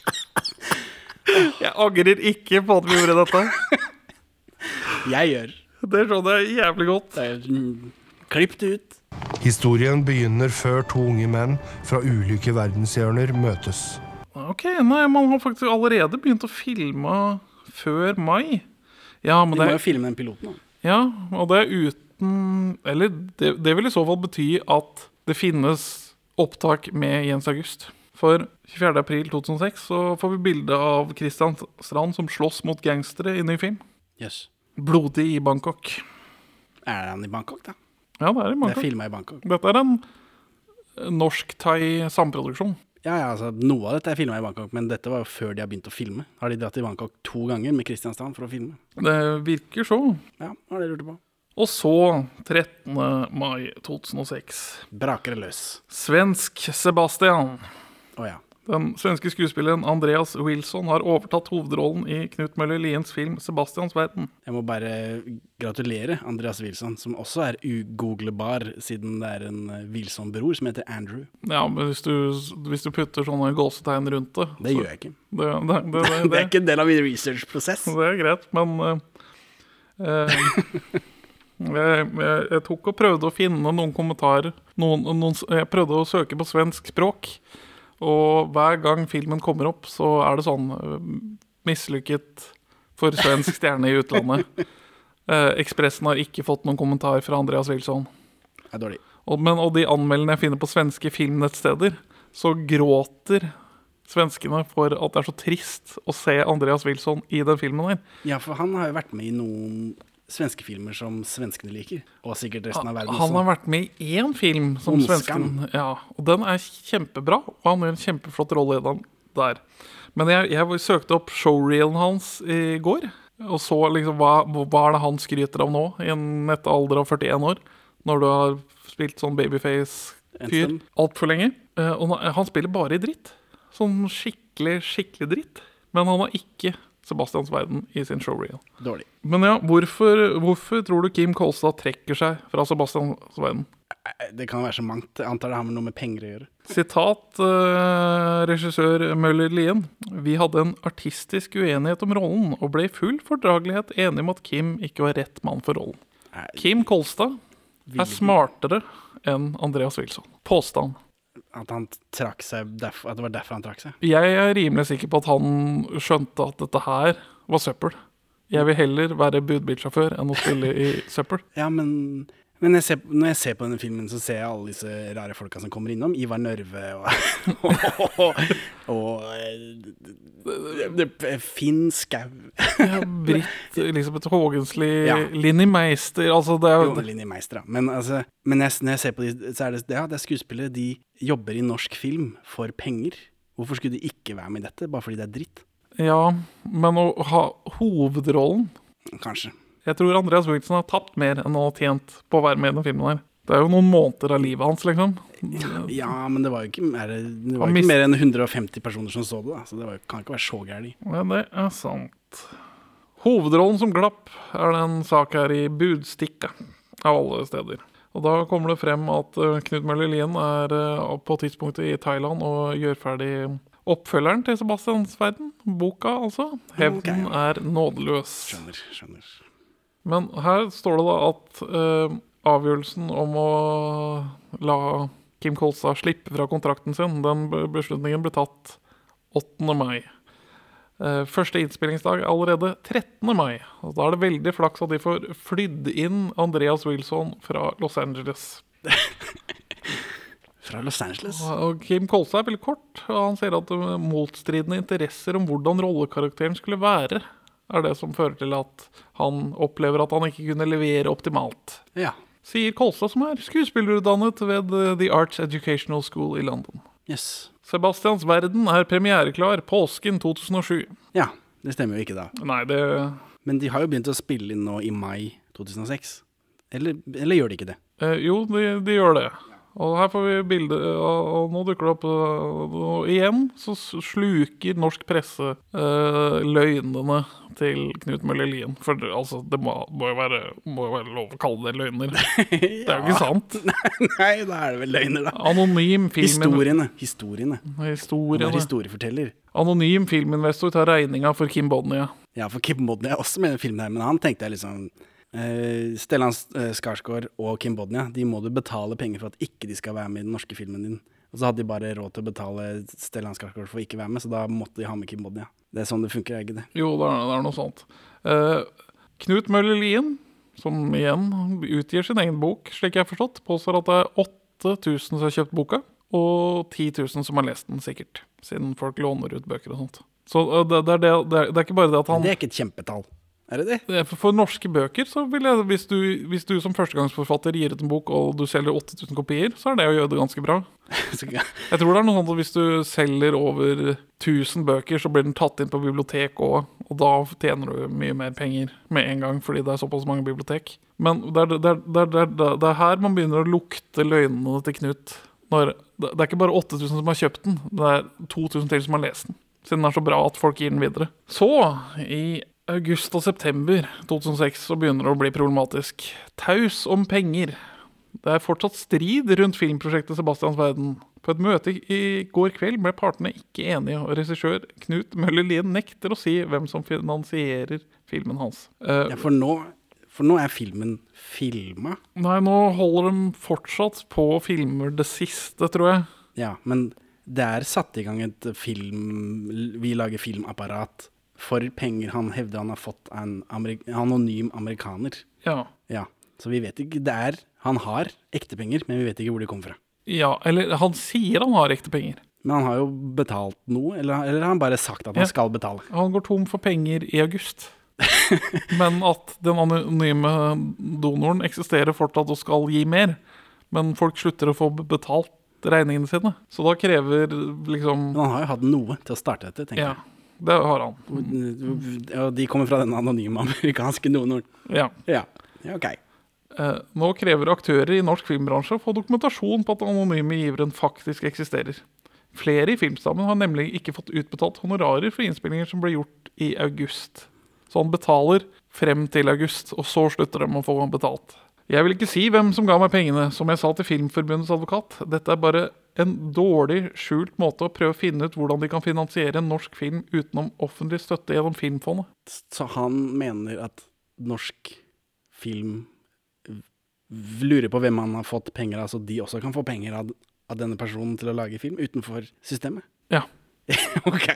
B: Jeg angrer ikke på at vi gjorde dette. [laughs]
A: Jeg gjør.
B: Det skjønner jeg jævlig godt.
A: Det er mm, klippet ut.
C: Historien begynner før to unge menn fra ulike verdenshjørner møtes.
B: Ok, nei, Man har faktisk allerede begynt å filme før mai. Ja,
A: Vi
B: men
A: må
B: det
A: jo
B: er,
A: filme den piloten. da.
B: ja, og det er uten Eller det, det vil i så fall bety at det finnes opptak med Jens August. For 24.4.2006 så får vi bilde av Christian Strand som slåss mot gangstere i ny film.
A: Jøss.
B: Blodig i Bangkok.
A: Er han i Bangkok, da?
B: Ja, det
A: Det
B: er i
A: er
B: Bangkok.
A: filma i Bangkok.
B: Dette er en norsk-thai samproduksjon.
A: Ja, ja, altså Noe av dette er filma i Bangkok, men dette var jo før de har begynt å filme. Har de dratt til Bangkok to ganger med Kristiansand for å filme?
B: Det virker så.
A: Ja, hva er det jeg lurte på?
B: Og så, 13. mai 2006,
A: Braker det løs.
B: svensk Sebastian.
A: Å ja.
B: Den svenske skuespilleren Andreas Wilson har overtatt hovedrollen i Knut Møller Liens film 'Sebastians verden'.
A: Jeg må bare gratulere Andreas Wilson, som også er ugooglebar, siden det er en eh, Wilson-bror som heter Andrew.
B: Ja, men hvis du, hvis du putter sånne gåsetegn rundt det
A: Det gjør jeg ikke.
B: Det, det, det,
A: [laughs]
B: det,
A: Det er ikke en del av min research-prosess.
B: [laughs] det er greit, men eh, eh, [laughs] jeg, jeg, jeg tok og prøvde å finne noen kommentarer. Noen, noen, s- jeg prøvde å søke på svensk språk, og hver gang filmen kommer opp, så er det sånn eh, mislykket for svensk stjerne i utlandet. Eh, Ekspressen har ikke fått noen kommentar fra Andreas Wilson.
A: Det er dårlig.
B: Og, men, og de anmeldene jeg finner på svenske filmnettsteder, så gråter svenskene for at det er så trist å se Andreas Wilson i den filmen her.
A: Ja, for han har jo vært med i noen svenske filmer som svenskene liker. Og sikkert resten av verden
B: Han har
A: også.
B: vært med i én film som
A: Ondskan.
B: svensken. Ja, og den er kjempebra, og han gjør en kjempeflott rolle i den der. Men jeg, jeg søkte opp showreelen hans i går, og så liksom hva, hva er det han skryter av nå, i en nette alder av 41 år, når du har spilt sånn
A: En
B: babyface-fyr
A: stund.
B: altfor lenge. Eh, Og han- han spiller bare i dritt. Sånn skikkelig, skikkelig dritt. Men han har ikke Sebastians verden i sin showreel.
A: Dårlig.
B: Men ja, hvorfor, hvorfor tror du Kim Kolstad trekker seg fra Sebastians verden?
A: Eh, Det kan være så mangt. Jeg antar det har med noe med penger å gjøre.
B: Sitat eh, regissør Møller Lien. Vi hadde en artistisk uenighet om rollen, og ble i full fordragelighet enige om at Kim ikke var rett mann for rollen.
A: Nei,
B: Kim Kolstad
A: Ville
B: er smartere enn Andreas Wilson. Påstand.
A: At han trakk seg derf- At det var derfor han trakk seg.
B: Jeg er rimelig sikker på at han skjønte at dette her var søppel. Jeg vil heller være budbilsjåfør enn å spille i søppel.
A: Ja, men Men jeg ser, når jeg ser på denne filmen, så ser jeg alle disse rare folka som kommer innom. Ivar Nørve og [laughs] Og, og eh, d- d- d- Finn Skau.
B: Ja, Britt Elisabeth Haagensli,
A: Ja.
B: Linni Meister altså det er,
A: Jone
B: jo-
A: Linni Meister, da. Men, altså, men jeg, når jeg ser på de, så er det, ja, det er skuespillere. De jobber i norsk film for penger. Hvorfor skulle de ikke være med i dette, bare fordi det er dritt?
B: ja, men å ha hovedrollen
A: Kanskje.
B: Jeg tror Andreas Wilson har tapt mer enn han har tjent på å være med i den filmen her. Det er jo noen måneder av livet hans, liksom.
A: Ja, men det var jo ikke, mer- det var
B: Han
A: jo ikke
B: mist-
A: mer enn 150 personer som så det, da. Så det var, jo- kan ikke være så gærent.
B: Ja, det er sant. Hovedrollen som glapp er det en sak her i Budstikka, av alle steder. Og da kommer det frem at eh, Knut Møller Lien er eh, på tidspunktet i Thailand og gjør ferdig oppfølgeren til Sebastiansverden. Boka, altså. Hevnen er nådeløs.
A: Skjønner. skjønner.
B: Men her står det da at eh, avgjørelsen om å la Kim Kolstad slippe fra kontrakten sin, den be- beslutningen ble tatt 8. mai. Eh, første innspillingsdag er allerede 13. mai. Og da er det veldig flaks at de får flydd inn Andreas Wilson fra Los Angeles.
A: Fra Los Angeles?
B: Og Kim Kolstad er veldig kort, og han sier at eh, motstridende interesser om hvordan rollekarakteren skulle være, er det som fører til at han opplever at han ikke kunne levere optimalt.
A: Ja.
B: sier Kolstad, som er skuespillerutdannet ved eh, The Arts Educational School i London.
A: Jøss.
B: Sebastians verden er premiereklar påsken 2007.
A: Ja, det stemmer jo ikke, da.
B: Nei, det
A: Men de har jo begynt å spille inn nå i mai 2006. Eller, eller gjør de ikke det?
B: eh, Jo, de, de gjør det. Og her får vi bilde, og, og nå dukker det opp eh, Og igjen så s- sluker norsk presse eh, løgnene til Knut Møller Lien. For det, altså, det må, må, jo være, må jo være lov å kalle det løgner. Det
A: [laughs]
B: er jo ikke sant.
A: Nei, da er det vel løgner, da.
B: Anonym filmen...
A: Historiene. Historiene. Han
B: Historie.
A: er historieforteller.
B: Anonym filminvestor tar regninga for Kim Bodnia.
A: Ja, for Kim Bodnia er også med i den filmen her, men han tenkte jeg liksom eh, Stellan eh, Skarsgård og Kim Bodnia, de må du betale penger for at ikke de skal være med i den norske filmen din. Og så hadde de bare råd til å betale Stellan Skarsgård for å ikke være med, så da måtte de ha med Kim Bodnia. Det er sånn det funker, er ikke det?
B: Jo, det er, det er noe sånt. Eh, Knut Møller Lien, som igjen utgir sin egen bok, slik jeg har forstått, påstår at det er 8000 som har kjøpt boka, og 10 000 som har lest den, sikkert. Siden folk låner ut bøker og sånt. Så eh, det, det, er det, det, er, det er ikke bare det at han
A: Det er ikke et kjempetall. Er [laughs] det det?
B: Eh, For, for norske bøker, så vil jeg, hvis du, hvis du som førstegangsforfatter gir ut en bok og du selger 8000 kopier, så er det å gjøre det ganske bra.
A: Så, ja.
B: Jeg tror det er noe sånt at hvis du selger over 1000 bøker, så blir den tatt inn på bibliotek òg, og da tjener du mye mer penger med en gang, fordi det er såpass mange bibliotek. Men det er, det er, det er, det er, det er her man begynner å lukte løgnene til Knut. Når, det det er ikke bare 8000 som har kjøpt den, det er 2000 til som har lest den. Siden den er så bra at folk gir den videre. Så, i august og september 2006, så begynner det å bli problematisk. Taus om penger. Det er fortsatt strid rundt filmprosjektet Sebastians verden. På et møte i går kveld ble partene ikke enige, og regissør Knut Møller Lien nekter å si hvem som finansierer filmen hans. Eh,
A: Ja, for nå, for nå er filmen filma.
B: nei, nå holder de fortsatt på å filme det siste, tror jeg.
A: Ja, men det er satt i gang et film Vi lager filmapparat for penger han hevder han har fått av en amerik anonym amerikaner.
B: Ja.
A: Ja, så vi vet ikke Det er Han har ekte penger, men vi vet ikke hvor de kom fra.
B: ja. Eller han sier han har ekte penger.
A: Men han har jo betalt noe, eller, eller har han bare sagt at han
B: Ja.
A: skal betale?
B: Han går tom for penger i august. Men at den anonyme donoren eksisterer fortsatt og skal gi mer. Men folk slutter å få b- betalt regningene sine. Så da krever liksom
A: Men han har jo hatt noe til å starte dette, tenker
B: Ja, det har han.
A: jeg. Og de kommer fra den anonyme amerikanske donoren.
B: Ja.
A: Ja. ja, ok.
B: Eh, nå krever aktører i norsk filmbransje å få dokumentasjon på at den anonyme giveren faktisk eksisterer. Flere i filmstammen har nemlig ikke fått utbetalt honorarer for innspillinger som ble gjort i august. Så han betaler frem til august, og så slutter de å få han betalt. Jeg vil ikke si hvem som ga meg pengene, som jeg sa til Filmforbundets advokat. Dette er bare en dårlig, skjult måte å prøve å finne ut hvordan de kan finansiere en norsk film utenom offentlig støtte gjennom Filmfondet.
A: Så han mener at norsk film v- v- lurer på hvem han har fått penger av, så de også kan få penger av, av denne personen til å lage film utenfor systemet?
B: Ja.
A: [laughs] ok.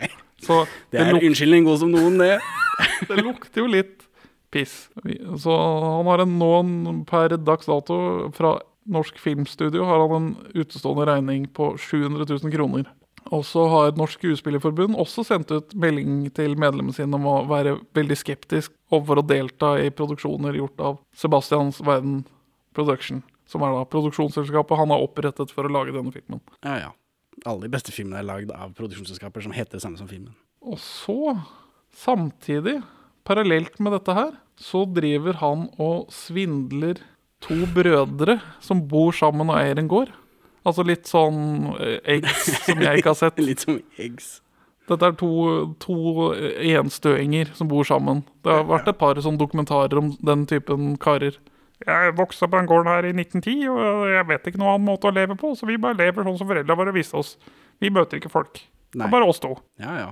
B: Så
A: Det er
B: lukter-
A: unnskyldning god som noen, det.
B: [laughs] Det lukter jo litt Piss. Vi- Så han har en, nå en per dags dato fra norsk filmstudio har han en utestående regning på 700 000 kroner. Og så har Norsk Skuespillerforbund også sendt ut melding til medlemmene sine om å være veldig skeptisk overfor å delta i produksjoner gjort av Sebastians Verden Production, som er da produksjonsselskapet han har opprettet for å lage denne filmen.
A: Ja, ja. Alle de beste filmene er lagd av produksjonsselskaper som heter det samme som
B: [laughs]
A: filmen.
B: Og så, samtidig, parallelt med dette her, så driver han og svindler to brødre som bor sammen og eier en gård. Altså litt sånn eh, eggs som jeg ikke har sett.
A: [laughs] Litt som Eggs.
B: Dette er to, to enstøinger som bor sammen. Det har vært et par sånn dokumentarer om den typen karer. Jeg vokste på den gården her i 1910, og jeg vet ikke noen annen måte å leve på, så vi bare lever sånn som foreldra våre viste oss. Vi møter ikke folk. Det
A: Nei.
B: er bare oss to.
A: Ja, ja.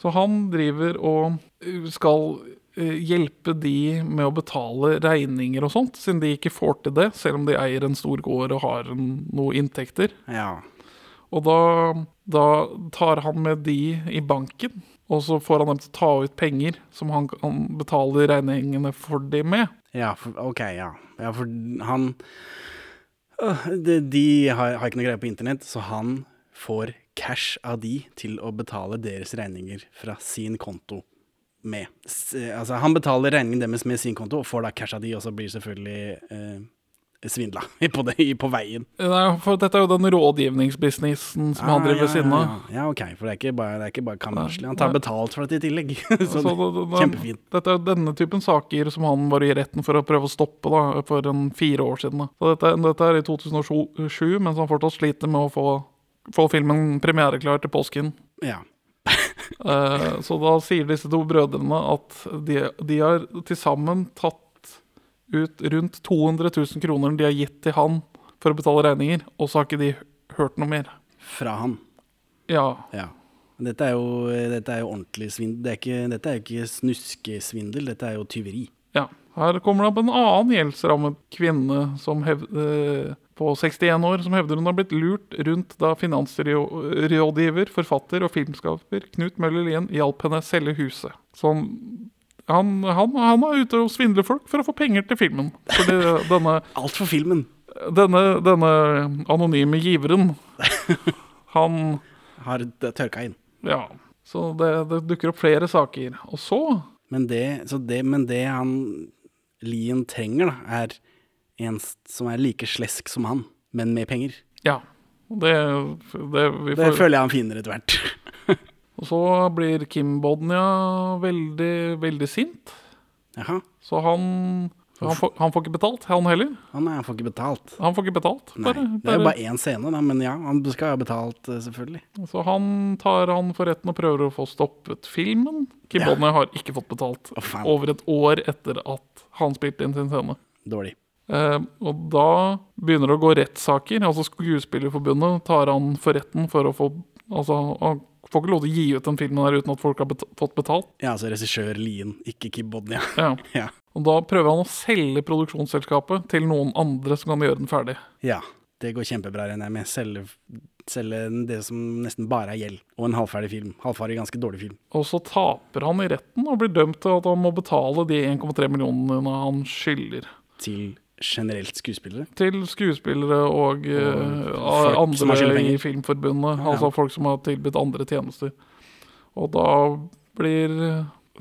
B: Så han driver og uh, skal uh, hjelpe de med å betale regninger og sånt, siden de ikke får til det, selv om de eier en stor gård og har en, noe inntekter.
A: Ja.
B: Og da, da tar han med de i banken, og så får han dem til å ta ut penger som han kan betale regningene for de med.
A: ja for, OK, ja. Ja, for han Øh, De, de har, har ikke noe greie på internett, så han får cash av de til å betale deres regninger fra sin konto med. S altså, han betaler regningen deres med sin konto, og får da cash av de, og så blir selvfølgelig eh, svindla [laughs] på, det, på veien.
B: Eh, Nei, for dette er jo den rådgivningsbusinessen som han driver ved siden av.
A: Ah, Ja, ja, ok, for det er ikke bare, det er ikke bare kammerslig. Han
B: Nei. Sånn,
A: tar betalt for dette i tillegg. [laughs] så
B: Så
A: det,
B: det- det-
A: kjempefint.
B: Dette er jo denne typen saker som han var i retten for å prøve å stoppe da, for en fire år siden. Da. Så dette, dette er i 2007, mens han fortsatt sliter med å få, få filmen premiereklar til påsken.
A: Ja.
B: Eh, så da sier disse to brødrene at de, de har til sammen tatt ut rundt 200 000 kroner de har gitt til han for å betale regninger, og så har ikke de hørt noe mer.
A: Fra han.
B: Ja,
A: Ja. Dette er jo, dette er jo ordentlig svindel. Det er ikke, dette er jo ikke snuskesvindel, dette er jo tyveri.
B: Ja. Her kommer det opp en annen gjeldsrammet kvinne som hev, eh, på 61 år som hevder hun har blitt lurt rundt da finansrådgiver, forfatter og filmskaper Knut Møller Lien hjalp henne selge huset. Så han, han, han, han er ute og svindler folk for å få penger til filmen. Fordi [laughs] denne,
A: Alt for filmen!
B: denne, denne anonyme giveren, han
A: Har t- tørka inn.
B: Ja. Så det, det dukker opp flere saker. Og så
A: Men det, så det, men det han Lien trenger, da, er en s- som er like slesk som han, men med penger.
B: Ja. Det, det, vi
A: Det føler jeg han finner etter hvert. [laughs]
B: Og så blir Kim Bodnia veldig, veldig sint.
A: Jaha.
B: Så han, han, får, han får ikke betalt, han heller.
A: Han, nei, han får ikke betalt.
B: Han får ikke betalt.
A: Nei,
B: Bare,
A: Det er jo
B: bare.
A: bare én scene, da, men ja, han skal ha betalt, eh, selvfølgelig.
B: Så han tar han for retten og prøver å få stoppet filmen. Kim
A: Ja.
B: Bodnia har ikke fått betalt
A: Å, faen.
B: over et år etter at han spilte inn sin scene.
A: Dårlig.
B: Eh, og da begynner det å gå rettssaker. Altså Skuespillerforbundet tar han for retten for å få Altså, han får ikke lov til å gi ut den filmen her uten at folk har bet fått betalt.
A: Ja, altså regissør Lien, ikke Kib Bodnia. [laughs]
B: Ja.
A: ja.
B: Og da prøver han å selge produksjonsselskapet til noen andre som kan gjøre den ferdig.
A: ja, det går kjempebra, regner jeg med. Selge, selge det som nesten bare er gjeld, og en halvferdig film. Halvferdig, ganske dårlig film.
B: Og så taper han i retten og blir dømt til at han må betale de 1,3 millionene han skylder.
A: Til generelt skuespillere.
B: Til skuespillere og, eh,
A: folk som har skyldt
B: andre i
A: penger.
B: Filmforbundet.
A: Ja.
B: Altså folk som har tilbudt andre tjenester. Og da blir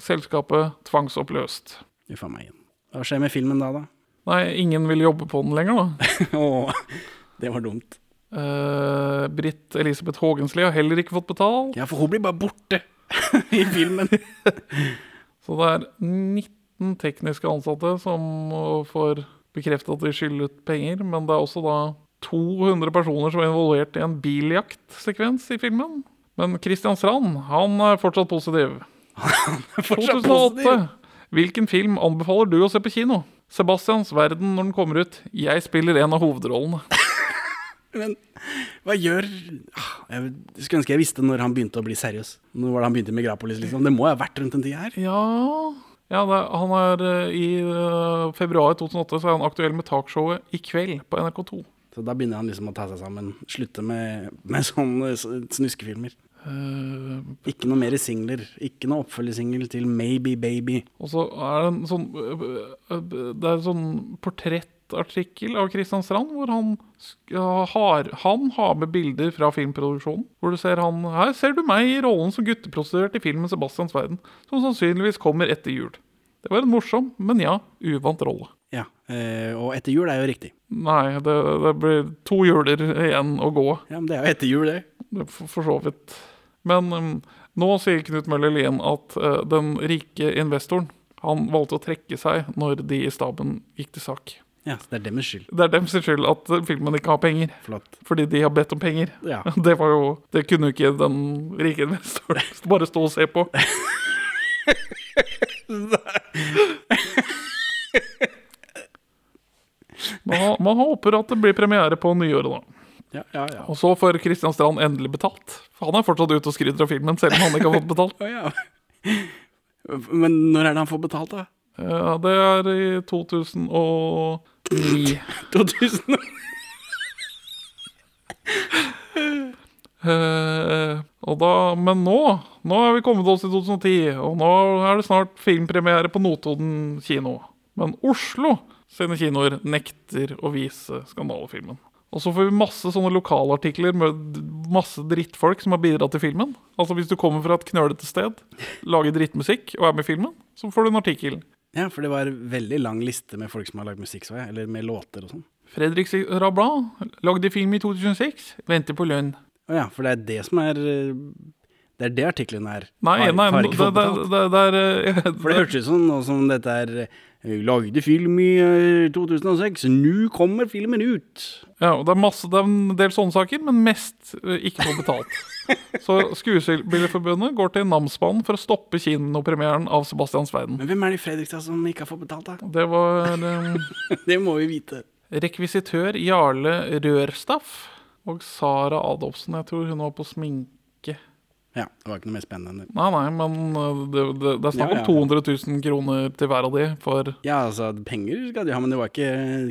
B: selskapet tvangsoppløst.
A: Uff a meg igjen. Hva skjer med filmen da, [laughs] da?
B: Nei, ingen vil jobbe på den lenger, da.
A: Åh, det var dumt.
B: Eh, Britt Elisabeth Haagensli har heller ikke fått betalt.
A: Ja, for hun blir bare borte [laughs] i filmen.
B: Så det er 19 tekniske ansatte som uh, får bekreftet at de skylder ut penger, men det er også da 200 personer som er involvert i en biljaktsekvens i filmen. Men Christian Strand, han er fortsatt positiv.
A: Fortsatt
B: 2008.
A: positiv.
B: Hvilken film anbefaler du å se på kino? Sebastians verden når den kommer ut. Jeg spiller en av hovedrollene.
A: Men hva gjør Ah, Jeg skulle ønske jeg visste når han begynte å bli seriøs. Når var det han begynte med Grapolis, liksom? Det må jo ha vært rundt den tida her.
B: Ja, ja det, er- han er uh, i uh, februar 2008 så er han aktuell med talkshowet I kveld på NRK2.
A: Så da begynner han liksom å ta seg sammen. Slutte med, med sånne s- snuskefilmer.
B: Eh,
A: Ikke noe mer singler. Ikke noe oppfølgesingel til Maybe Baby.
B: og så er det en sånn eh, eh, Det er en sånn portrettartikkel av Kristian Strand, hvor han sk- har, han har med bilder fra filmproduksjonen. Hvor du ser han Her ser du meg i rollen som gutteprostituert i filmen 'Sebastians verden', som sannsynligvis kommer etter jul. Det var en morsom, men ja, uvant rolle.
A: Ja, eh, Og etter jul er jo riktig.
B: Nei, det, det blir to juler igjen å gå.
A: Ja, Men det er jo etter jul, det.
B: For, for så vidt. Men um, nå sier Knut Møller Lien at eh, den rike investoren han valgte å trekke seg når de i staben gikk til sak.
A: Ja, så Det er deres skyld.
B: Det er dem sin skyld at eh, filmen ikke har penger,
A: Flott.
B: fordi de har bedt om penger. [laughs]
A: Ja.
B: Det var jo, det kunne jo ikke den rike investoren [laughs] bare stå og se på. Man, man håper at det blir premiere på nyåret, da.
A: Ja, ja, [laughs] ja.
B: Og så får Kristian Strand endelig betalt. For han er fortsatt ute og skryter av filmen, selv om han ikke har fått
A: [laughs]
B: betalt.
A: Å, ja. Men når er det han får betalt, da?
B: Ja, det er i
A: [laughs]
B: 2009.
A: 2000?
B: Eh, og da, men nå Nå er vi kommet oss til 2010, og nå er det snart filmpremiere på Notodden kino. Men Oslo sine kinoer nekter å vise skandalefilmen. Og så får vi masse sånne lokalartikler med d- masse drittfolk som har bidratt til filmen. Altså Hvis du kommer fra et knølete sted, lager drittmusikk og er med i filmen, så får du en artikkel.
A: Ja, for det var veldig lang liste med folk som har lagd musikk, så jeg. Eller med låter og sånn.
B: Fredrik Rabla lagde film i 2006, venter på lønn.
A: Å ja, for det er det som er eh, Det er det artikkelen er.
B: Nei,
A: har,
B: nei,
A: har
B: det,
A: ikke
B: det,
A: fått
B: det,
A: betalt.
B: det, det er eh, [laughs]
A: For det hørtes ut som noe som dette er eh, Lagde film i eh, 2006, nå kommer filmen ut!
B: Ja, og det er, masse, det er en del sånne saker, men mest eh, ikke få betalt.
A: [laughs]
B: Så Skuespillerforbundet går til namsbanen for å stoppe kinopremieren av Sebastians verden.
A: Men hvem er det i Fredrikstad som ikke har fått betalt, da?
B: Det var eh,
A: [laughs] Det må vi vite.
B: rekvisitør Jarle Rørstaff og Sara Adolfsen. Jeg tror hun var på sminke.
A: Ja, det var ikke noe mer spennende enn det.
B: Nei, nei, men eh, det, det, det er snakk
A: Ja, ja, ja.
B: om 200 000 kroner til hver av de for
A: Ja, altså, penger skal de ha, men det var ikke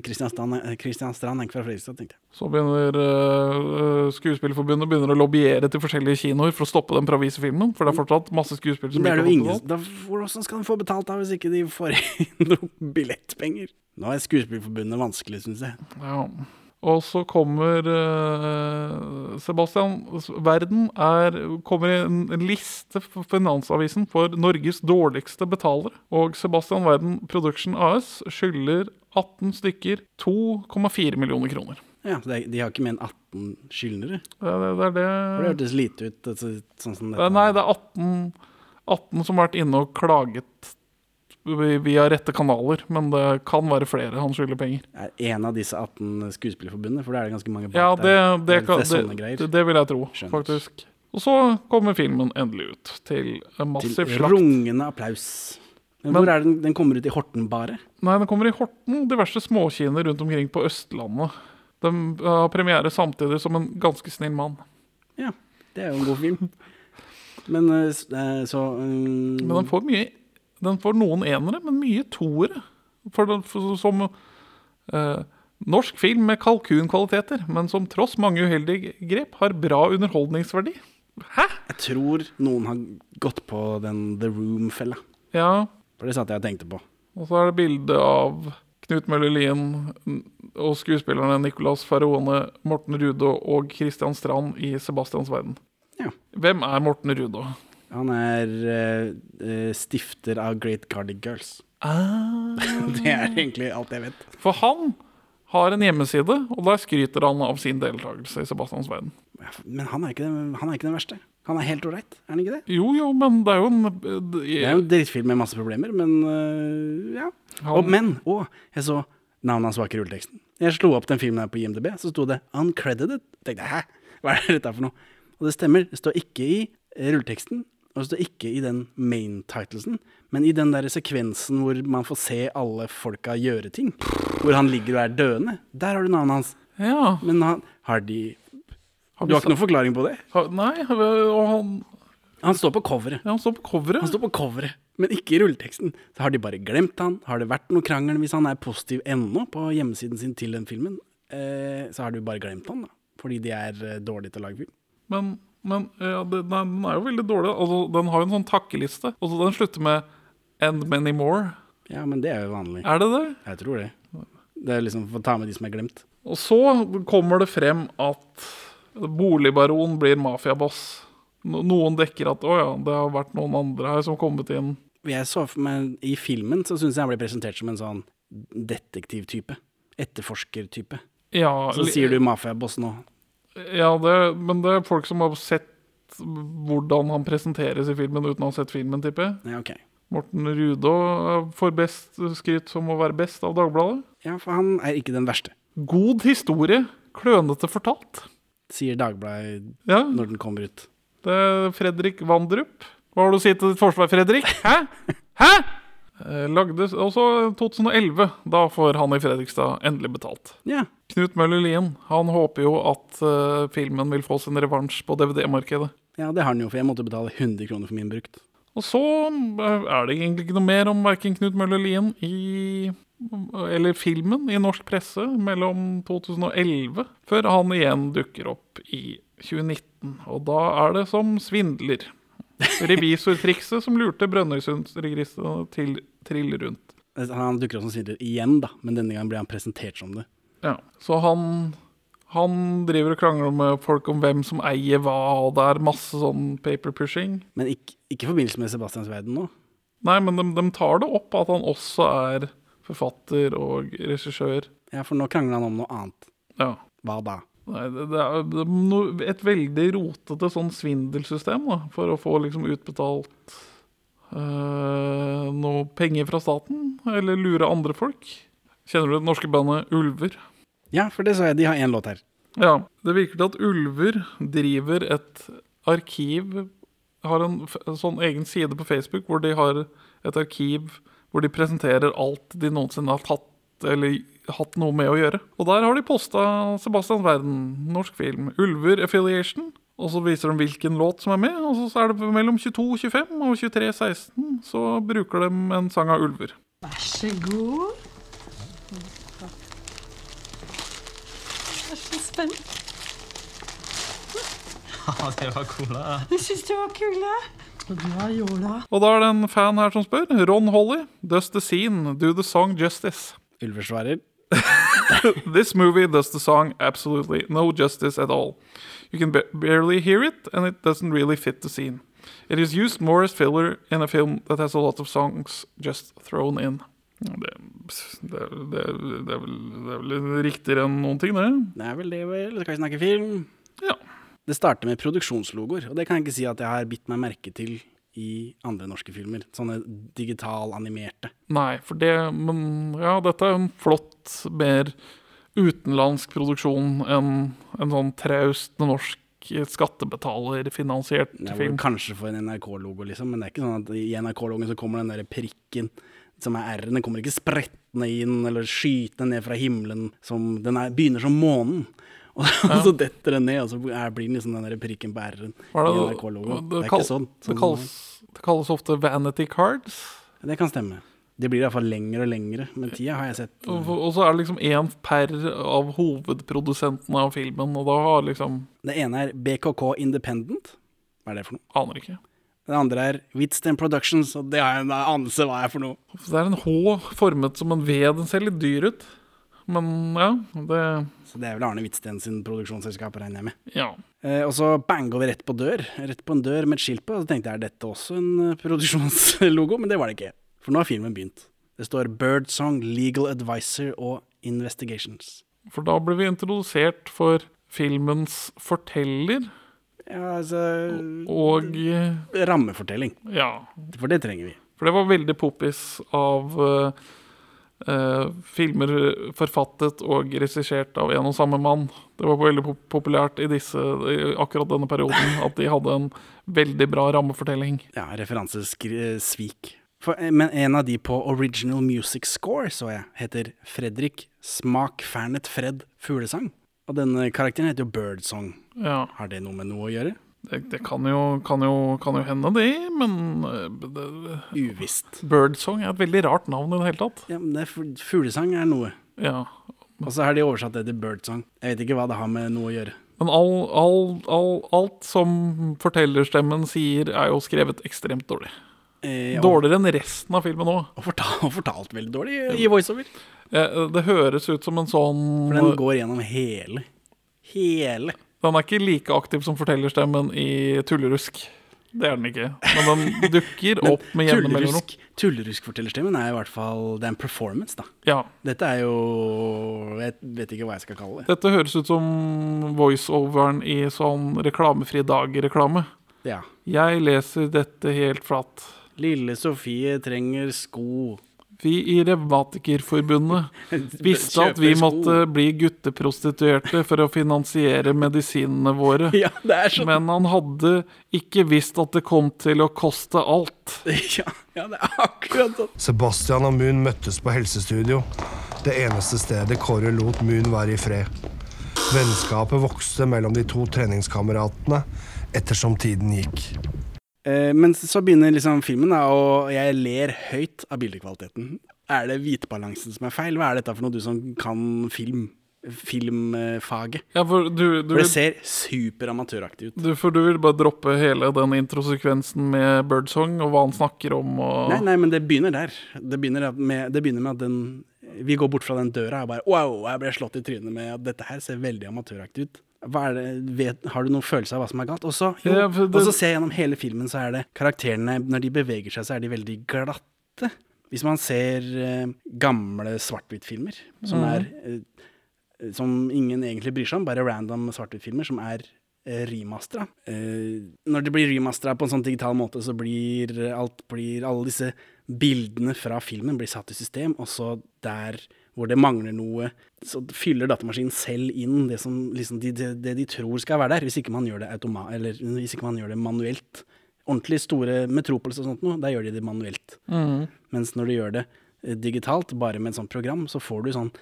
A: Kristian Strand, Christian Strand er ikke fra Fredrikstad, tenkte jeg.
B: Så begynner eh, Skuespillerforbundet begynner å lobbyere til forskjellige kinoer for å stoppe dem fra å vise filmen. For det er fortsatt masse skuespillere som
A: Men det er det
B: ikke
A: jo ingen
B: har fått betalt.
A: da, Hvordan skal de få betalt da, hvis ikke de får [laughs] inn noen billettpenger? Nå er Skuespillerforbundet vanskelig, syns jeg.
B: Ja. Og så kommer eh, Sebastian Verden er, kommer i en en liste for Finansavisen for Norges dårligste betalere. Og Sebastian Verden Production AS skylder 18 stykker 2,4 millioner kroner.
A: Ja, så det, er- De har ikke mer enn 18 skyldnere?
B: Det er det. det,
A: For
B: er
A: det
B: det.
A: hørtes lite ut, altså, sånn som
B: det
A: dette.
B: er, Eh, nei, det er 18, 18 som har vært inne og klaget vi- via rette kanaler. Men det kan være flere han skylder penger.
A: Er en av disse 18 Skuespillerforbundet? For da er det ganske mange bak
B: Ja, det,
A: der.
B: det, kan,
A: er sånne
B: det,
A: greier.
B: det, det vil jeg tro,
A: Skjønt.
B: faktisk. Og så kommer filmen endelig ut, til en massiv
A: Til
B: slakt.
A: rungende applaus. Men,
B: Men-
A: hvor er den, den kommer ut i Horten bare?
B: Nei, den kommer i Horten, diverse småkiner rundt omkring på Østlandet. De eh, har premiere samtidig som en ganske snill mann.
A: Ja, det er jo en god film. Men eh, s- eh, så mm,
B: Men den får mye Den får noen enere, men mye toere. For den, for, som eh, norsk film med kalkunkvaliteter, men som tross mange uheldige grep har bra underholdningsverdi.
A: Jeg tror noen har gått på den The Room-fella.
B: Ja,
A: For det satt jeg og tenkte på.
B: Og så er det bilde av Knut Møller Lien og skuespillerne Nicolas Farone, Morten Rudo og Christian Strand i Sebastians verden.
A: Ja.
B: Hvem er Morten Rudo?
A: Han er eh, eh, stifter av Great Cardiac Girls. [laughs] Det er egentlig alt jeg vet.
B: Ah. For han har en hjemmeside, og der skryter han av sin deltakelse i Sebastians verden.
A: Men han er ikke den, han er ikke den verste. Han er helt ålreit, er han ikke det?
B: Jo, jo, men det er jo en eh,
A: Det er jo en drittfilm med masse problemer, men øh, ja.
B: Han-
A: Og, men å, jeg så navnet hans var ikke i rulleteksten. Jeg slo opp den filmen her på IMDb, så sto det 'uncredited'. Jeg tenkte hæ, hva er dette for noe? Og det stemmer, det står ikke i eh, rulleteksten, og det står ikke i den main titelsen, men i den der sekvensen hvor man får se alle folka gjøre ting, hvor han ligger og er døende, der har du navnet hans.
B: Ja.
A: Men han, har de
B: Har
A: Du
B: vi
A: har ikke noen forklaring på det?
B: sa- ha- Nei, eh, og han,
A: Han står på coveret.
B: ja, han står på coveret.
A: Han står på coveret, men ikke i rulleteksten. Så har de bare glemt han. Har det vært noe krangel hvis han er positiv ennå på hjemmesiden sin til den filmen? Eh, så har du bare glemt han, da. Fordi de er eh, dårlige til å lage film.
B: Men Men ja, det, nei, den er jo veldig dårlig. Altså, den har jo en sånn takkeliste, og så den slutter med 'and many more'.
A: Ja, men det er jo vanlig.
B: Er det det?
A: Jeg tror det. Det er liksom for å ta med de som er glemt.
B: Og så kommer det frem at boligbaron blir mafiaboss. No- Noen dekker at 'å ja, det har vært noen andre her som har kommet inn'.
A: Jeg så for meg, I filmen så syns jeg han ble presentert som en sånn detektivtype. Etterforskertype.
B: Ja,
A: Så sier du mafiaboss nå.
B: ja det, men det er folk som har sett hvordan han presenteres i filmen uten å ha sett filmen, tipper jeg.
A: Ja, ok.
B: Morten Rudå får best skryt som å være best av Dagbladet.
A: Ja, for han er ikke den verste,
B: God historie, klønete fortalt.
A: sier Dagbladet
B: Ja,
A: når den kommer ut.
B: det er Fredrik Vandrup. Hva har du å si til ditt forsvar, Fredrik? Hæ? Hæ? Eh, Lagde også 2011. Da får han i Fredrikstad endelig betalt.
A: Ja.
B: Knut Møller Lien han håper jo at eh, filmen vil få sin revansj på DVD-markedet.
A: ja, det har han jo, for jeg måtte betale 100 kroner for min brukt.
B: Og så eh, er det egentlig ikke noe mer om verken Knut Møller Lien i eller filmen i norsk presse mellom 2011, før han igjen dukker opp i 2019. Og da er det som svindler. Revisortrikset som lurte Brønnøysundregistrene til trill rundt.
A: Eh, Han dukker opp som svindler igjen, da, men denne gangen blir han presentert som det.
B: Ja. Så han, han driver og krangler med folk om hvem som eier hva, og det er masse sånn paper-pushing.
A: Men ikke, ikke i forbindelse med Sebastians verden nå.
B: Nei, men de, de tar det opp at han også er forfatter og regissør.
A: Ja, for nå krangler han om noe annet.
B: Ja.
A: Hva da?
B: Nei, det, det er det er no- et veldig rotete sånn svindelsystem da, for å få liksom utbetalt eh, noe penger fra staten, eller lure andre folk. Kjenner du det norske bandet Ulver?
A: Ja, for det så jeg, de har én låt her.
B: Ja, det virker til at Ulver driver et arkiv Har en f sånn egen side på Facebook hvor de har et arkiv hvor de presenterer alt de noensinne har tatt eller hatt noe med å gjøre. Og der har de posta Sebastians verden, norsk film, Ulver Affiliation. Og så viser de hvilken låt som er med, og så er det mellom 22.25 og 23.16 så bruker de en sang av Ulver.
D: Vær så god. Jeg er så spent.
E: [laughs] Ja, det var cola. ja.
D: Jeg syns det var kule. Så glad i jåla.
B: Og da er det en fan her som spør. Ron Holly, 'Does the scene do the song justice'?
A: Ulver svarer.
B: This movie does the song absolutely no justice at all. You can ba- barely hear it, and it doesn't really fit the scene. It is used more as filler in a film that has a lot of songs just thrown in. Det, det, det, det, er, vel, det er vel riktigere enn noen ting, det.
A: Det er vel det, vel. Skal vi snakke film?
B: Ja.
A: Det starter med produksjonslogoer, og det kan jeg ikke si at jeg har bitt meg merke til i andre norske filmer. Sånne digital-animerte.
B: Nei, for det Men ja, dette er en flott, mer utenlandsk produksjon enn en sånn traust norsk skattebetalerfinansiert
A: Jeg vil
B: film.
A: kanskje få en NRK-logo, liksom, men det er ikke sånn at i NRK-logoen så kommer den der prikken som er R-en. Den kommer ikke sprettende inn eller skytende ned fra himmelen. Som, den er, begynner som månen, [laughs] og, så detter den ned, og så er, blir den liksom den der prikken på R-en i
B: Hva er det-
A: NRK-logoen. Det, er
B: kall-
A: ikke sånn.
B: Det kalles, det kalles ofte vanity cards.
A: Det kan stemme. Det blir iallfall lengre og lengre med tida, har jeg sett.
B: Og og så er det liksom én per av hovedprodusentene av filmen, og da har liksom
A: Det ene er BKK Independent. Hva er det for noe?
B: Aner ikke.
A: Det andre er Witsten Productions, og det har jeg en anelse hva er for noe.
B: Så det er en H formet som en V. Den ser litt dyr ut, men ja. Det
A: Så det er vel Arne Witsten sin produksjonsselskap, regner jeg med.
B: Ja.
A: Eh, og så banga vi rett på dør, rett på en dør med et skilt på, og så tenkte jeg er dette også en eh, produksjonslogo, men det var det ikke. For nå har filmen begynt. Det står Birdsong, Legal Advisor og Investigations.
B: For da ble vi introdusert for filmens forteller
A: Ja, altså
B: og eh,
A: Rammefortelling,
B: Ja.
A: for det trenger vi.
B: For det var veldig poppis av eh, eh, filmer forfattet og regissert av en og samme mann. Det var veldig pop populært i disse, i akkurat denne perioden at de hadde en veldig bra rammefortelling.
A: Ja, referansesvik. For, eh, men en av de på Original Music Score, så jeg, heter Fredrik Smak Fernet Fred Fuglesang. Og denne karakteren heter jo Birdsong.
B: Ja,
A: Har det noe med noe å gjøre?
B: Det, det kan, jo, kan, jo, kan jo hende, det, men eh, det,
A: Uvisst.
B: Birdsong er et veldig rart navn i det hele tatt.
A: Ja, men det er, fu- fuglesang er noe.
B: Ja,
A: Og så har de oversatt det til birdsong. Jeg vet ikke hva det har med noe å gjøre.
B: Men all, all, all, alt som fortellerstemmen sier, er jo skrevet ekstremt dårlig.
A: Eh, og,
B: Dårligere enn resten av filmen òg.
A: og, fortalt, [laughs] og fortalt veldig dårlig i voiceover.
B: Det høres ut som en sånn
A: For den går gjennom hele. Hele.
B: Den er ikke like aktiv som fortellerstemmen i Tullerusk. Det er den ikke. Men den
A: [laughs]
B: dukker
A: Men
B: opp med jevne mellomrom.
A: tullerusk, tulleruskfortellerstemmen er i hvert fall Det er en performance, da.
B: Ja.
A: Dette er jo Jeg vet ikke hva jeg skal kalle det.
B: Dette høres ut som voiceoveren i sånn reklamefri dag-reklame.
A: Ja.
B: Jeg leser dette helt flatt.
A: Lille Sofie trenger sko.
B: Vi i Revmatikerforbundet visste at vi
A: Kjøper sko.
B: måtte bli gutteprostituerte for å finansiere medisinene våre.
A: [laughs] Ja, det er sånn.
B: Men han hadde ikke visst at det kom til å koste alt.
A: Ja, ja, det er akkurat sånn.
C: Sebastian og Moon møttes på helsestudio. Det eneste stedet Kåre lot Moon være i fred. Vennskapet vokste mellom de to treningskameratene ettersom tiden gikk.
A: Eh, men så begynner liksom filmen, da, og jeg ler høyt av bildekvaliteten. Er det hvitbalansen som er feil? Hva er dette for noe, du som kan film? Filmfaget.
B: Ja, for du, du,
A: For det ser superamatøraktig ut.
B: du, for du vil bare droppe hele den introsekvensen med Birdsong og hva han snakker om og
A: Nei, nei, men det begynner der. Det begynner at med, det begynner med at den Vi går bort fra den døra og bare Wow, jeg ble slått i trynet med at dette her ser veldig amatøraktig ut. Hva er det, vet, har du noen følelse av hva som er galt? Og så jo,
B: Ja, for det-
A: og så ser jeg gjennom hele filmen, så er det karakterene Når de beveger seg, så er de veldig glatte. Hvis man ser eh, gamle svart-hvitt-filmer, som er eh, Som ingen egentlig bryr seg om, bare random svart-hvitt-filmer, som er eh, remastera. Eh, når det blir remastera på en sånn digital måte, så blir alt blir Alle disse bildene fra filmen blir satt i system, og så der hvor det mangler noe, så fyller datamaskinen selv inn det, som, liksom, de, det, det de tror skal være der, hvis ikke man gjør det, automa eller, hvis ikke man gjør det manuelt. Ordentlig store metropolis og sånt noe, der gjør de det manuelt.
B: Mm.
A: Mens når du gjør det eh, digitalt, bare med et sånt program, så får du sånn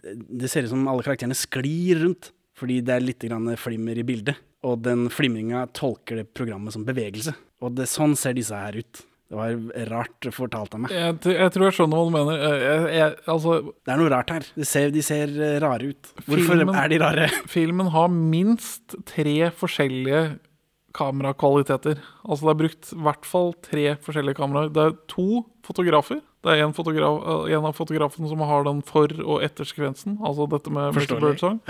A: Det ser ut som alle karakterene sklir rundt, fordi det er litt grann flimmer i bildet. Og den flimringa tolker det programmet som bevegelse. Og det, sånn ser disse her ut. Det var rart fortalt av meg.
B: Jeg, t- jeg tror jeg skjønner hva du mener. Eh, Jeg, jeg, altså,
A: Det er noe rart her. De ser, de ser eh, rare ut. Hvorfor
B: Filmen-
A: er de rare? [laughs]
B: filmen har minst tre forskjellige kamerakvaliteter. Altså, det er brukt i hvert fall tre forskjellige kameraer. Det er to fotografer. Det er en, fotograf, eh, en av fotografene som har den for- og ettersekvensen, altså dette med Mr.
A: Forståelig.
B: [laughs] Birdsong.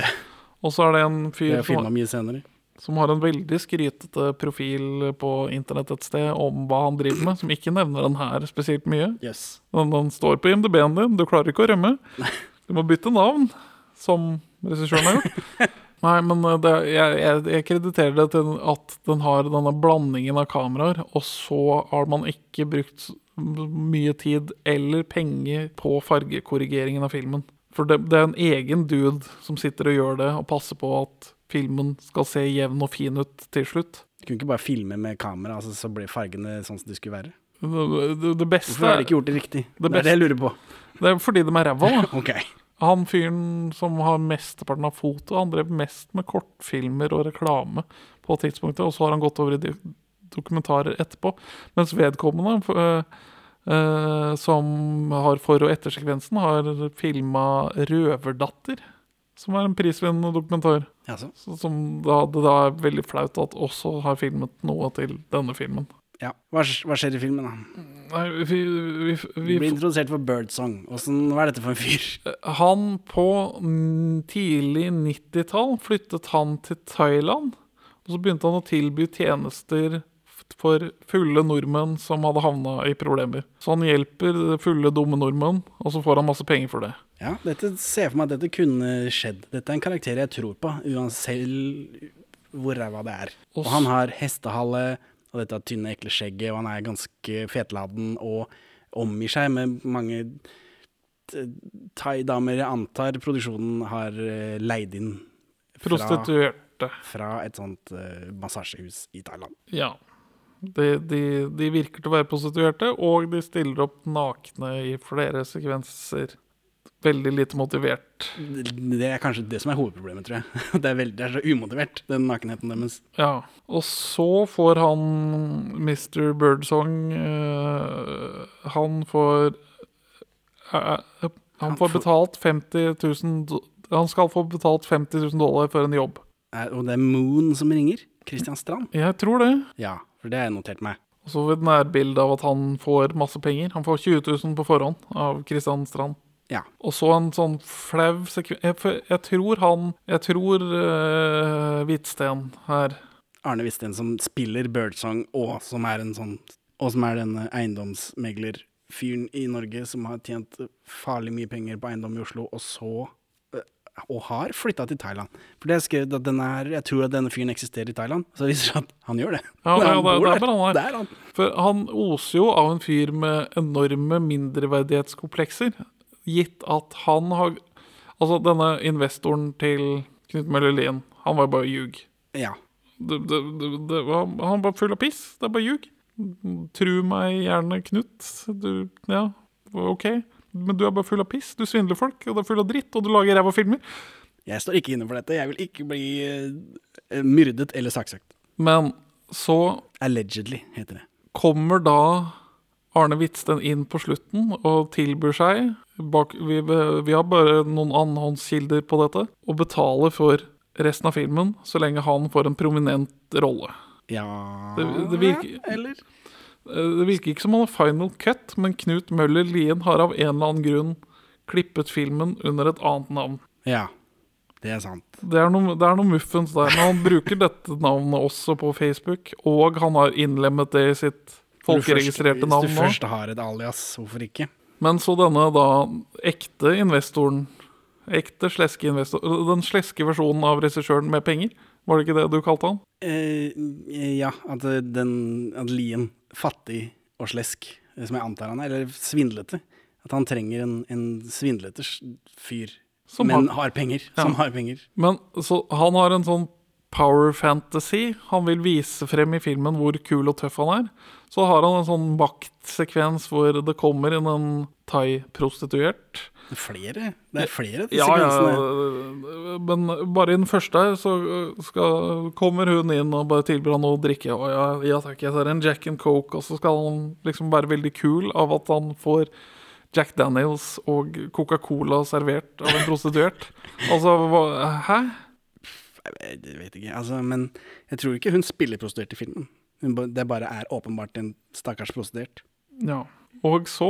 B: Og så er det en
A: Jeg
B: fyr
A: har
B: som,
A: filma mye senere.
B: som har en veldig skrytete profil på internett et sted om hva han driver med, som ikke nevner den her spesielt mye.
A: Yes.
B: Den, den står på IMDb-en din, du klarer ikke å rømme. Du må bytte navn, som regissøren
A: [laughs]
B: har gjort. Nei, men eh, det, jeg, jeg, jeg krediterer det til at den har denne blandingen av kameraer, og så har man ikke brukt s- m- mye tid eller penger på fargekorrigeringen av filmen. For det, det er en egen dude som sitter og gjør det, og passer på at filmen skal se jevn og fin ut til slutt.
A: Kunne ikke bare filme med kamera, altså, så ble fargene sånn som de skulle være.
B: Det, det, det beste
A: Hvorfor har de
B: er,
A: ikke gjort det riktig? Det,
B: beste-
A: er det jeg lurer på.
B: det er fordi de er ræva, da.
A: [laughs] Ok.
B: Han fyren som har mesteparten av foto, han drev mest med kortfilmer og reklame på tidspunktet, og så har han gått over i de- dokumentarer etterpå. Mens vedkommende, f- øh, øh, som har for- og ettersekvensen, har filma 'Røverdatter', som er en prisvinnende dokumentar.
A: Altså,
B: Så- Som da, det da er veldig flaut at også har filmet noe til denne filmen.
A: ja. hva, sk- hva skjer i filmen, da?
B: Nei, vi, vi, vi,
A: Vi blir
B: vi
A: introdusert for Birdsong. Åssen- hva er dette for en fyr?
B: Han på mm, tidlig 90-tall flyttet han til Thailand. Og så begynte han å tilby tjenester f- for fulle nordmenn som hadde havna i problemer. Så han hjelper fulle, dumme nordmenn, og så får han masse penger for det.
A: [laughs] Ja, dette ser jeg for meg at dette kunne skjedd. Dette er en karakter jeg tror på, uansett hvor ræva det er. Og han har hestehale og dette tynne, ekle skjegget, og han er ganske fetladen og omgir seg med mange t- thaidamer jeg antar produksjonen har eh, leid inn fra,
B: Prostituerte.
A: fra et sånt eh, massasjehus i Thailand.
B: Ja. De, de, de virker til å være prostituerte, og de stiller opp nakne i flere sekvenser. Veldig lite motivert.
A: Det det er kanskje det som er hovedproblemet, tror jeg. [laughs] Det er, veldig, det er så umotivert, den nakenheten deres.
B: Ja, og så får han Mr. Birdsong eh, Han får eh, eh, Han får betalt 50 000 do- Han skal få betalt 50 000 dollar for en jobb.
A: Er- Eh, Og det er Moon som ringer? Christian Strand?
B: Jeg tror det.
A: Ja, for det har jeg notert meg.
B: Og så et nærbilde av at han får masse penger. Han får 20 000 på forhånd av Kristian Strand.
A: Ja.
B: Og så en sånn flau sekvens jeg, for jeg tror han Jeg tror eh, Hvitsten her
A: Arne Visten som spiller Birdsong, og som er en sånn Og som er denne eiendomsmeglerfyren i Norge som har tjent farlig mye penger på eiendom i Oslo, og så eh, og har flytta til Thailand. For det er skrevet at denne her, jeg tror at denne fyren eksisterer i Thailand. Så det viser seg at han gjør det. [laughs]
B: Ja,
A: han
B: ja, det-
A: bor
B: det er bare han der.
A: Det er han.
B: For han oser jo av en fyr med enorme mindreverdighetskomplekser, gitt at han har Altså, denne investoren til Knut Møller Lien, han var bare ljug.
A: Ja.
B: Det, det, det, det, han han var full av piss. Det er bare ljug. Tru meg gjerne, Knut. Du, ja, OK. Men du er bare full av piss. Du svindler folk, og du er full av dritt, og du lager ræva filmer.
A: Jeg står ikke inne for dette. Jeg vil ikke bli eh, myrdet eller saksøkt.
B: Men så
A: Allegedly, heter det.
B: kommer da Arne Hvitsten inn på slutten og tilbyr seg bak, vi, vi har bare noen annonskilder på dette. Og betaler for resten av filmen så lenge han får en prominent rolle.
A: Ja
B: Det, det, virker,
A: Eller?
B: det virker ikke som han har final cut, men Knut Møller Lien har av en eller annen grunn klippet filmen under et annet navn.
A: Ja. Det er sant.
B: Det er noe, det er noe muffens der, men han bruker dette navnet også på Facebook, og han har innlemmet det i sitt
A: Når du først-
B: folkeregistrerte navn nå.
A: Hvis du først har et alias, hvorfor ikke?
B: Men så denne da ekte investoren Ekte sleske investor altså Den sleske versjonen av regissøren med penger, var det ikke det du kalte han?
A: Eh, ja, at, eh, den, at Lien, fattig og slesk, eh, som jeg antar han er, eller svindlete At han trenger en, en svindlete s- fyr,
B: Som
A: men
B: har-
A: har, penger. Som har penger.
B: Men så han har en sånn power fantasy. Han vil vise frem i filmen hvor kul og tøff han er. Så har han en sånn maktsekvens hvor det kommer inn en thai-prostituert.
A: Det er flere. Det er flere
B: Ja, ja,
A: sekvensene.
B: men bare i den første her så øh, skal, kommer hun inn og bare tilbyr han noe å drikke. Og ja, ja takk, jeg tar en Jack and Coke, og så skal han liksom være veldig kul av at han får Jack Daniels og Coca-Cola servert av en prostituert. [laughs] Altså, hva, hæ?
A: Jeg vet- jeg vet ikke. Altså, men jeg tror ikke hun spiller prostituert i filmen. Hun, ba- det bare er åpenbart en stakkars prostituert.
B: Ja. Og så,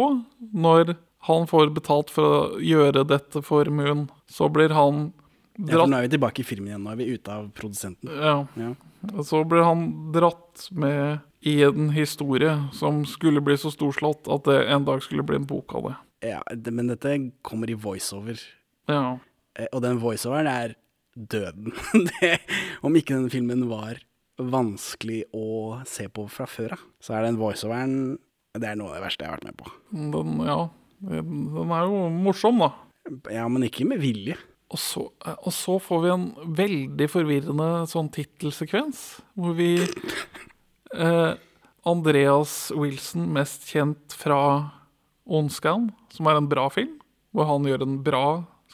B: når han får betalt for å gjøre dette for Moon, så blir han
A: Ja, for
B: dratt
A: nå er vi tilbake i filmen igjen. Nå er vi ute av produsenten.
B: Ja.
A: Ja.
B: Og så ble han dratt med i en historie som skulle bli så storslått at det en dag skulle bli en bok av det.
A: Ja, det, men dette kommer i voiceover.
B: Ja.
A: Eh, Og den voiceoveren er døden. [laughs] det, om ikke den filmen var vanskelig å se på fra før av, så er den voiceoveren Det er noe av det verste jeg har vært med på.
B: Den, ja. den er jo morsom, da.
A: Ja, men ikke med vilje.
B: Og så, eh, og så får vi en veldig forvirrende sånn tittelsekvens, hvor vi eh, Andreas Wilson, mest kjent fra Ondskan, som er en bra film, hvor han gjør en bra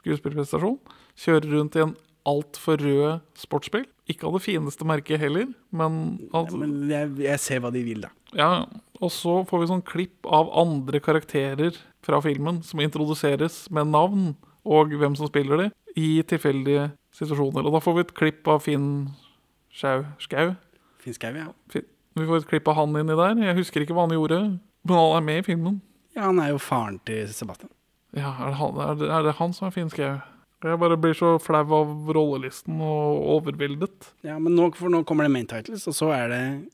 B: skuespillprestasjon, kjører rundt i en altfor rød sportsbil. Ikke av det fineste merket heller, men, altså- at,
A: Men jeg, jeg ser hva de vil, da.
B: ja, og så får vi sånn klipp av andre karakterer fra filmen som introduseres med navn og hvem som spiller dem, i tilfeldige situasjoner. Og da får vi et klipp av Finn Schau Skau.
A: Finn Skau, ja.
B: Fin- Vi får et klipp av han inni der. Jeg husker ikke hva han gjorde, men han er med i filmen.
A: Ja, han er jo faren til Sebastian.
B: Ja, er det han, er det, er det han som er Finn Skau? Jeg bare blir så flau av rollelisten og overveldet.
A: Ja, men nå, for nå kommer det main titles, og så er det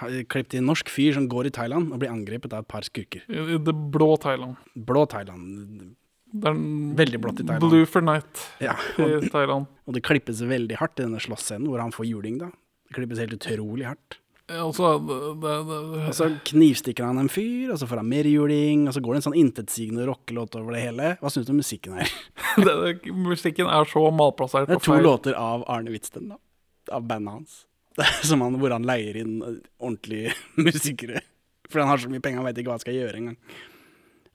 A: ha- klipp til en norsk fyr som går i Thailand og blir angrepet av et par skurker.
B: I, i det blå Thailand.
A: Blå Thailand.
B: Det er en
A: Veldig blått i Thailand.
B: Blue for night
A: Ja, og,
B: i Thailand.
A: og det klippes veldig hardt i denne slåssscenen hvor han får juling, da. Det klippes helt utrolig hardt.
B: Ja, Altså, det, det, det,
A: Og så knivstikker han en fyr, og så får han mer juling, og så går det en sånn intetsigende rockelåt over det hele. Hva syns du om musikken her?
B: det, det- musikken er så malplassert
A: Det
B: og
A: er to
B: feil.
A: låter av Arne Hvitsten, da. Av bandet hans. [laughs] Som han, hvor han leier inn eh, ordentlige [laughs] musikere. For han har så mye penger, han veit ikke hva han skal gjøre engang.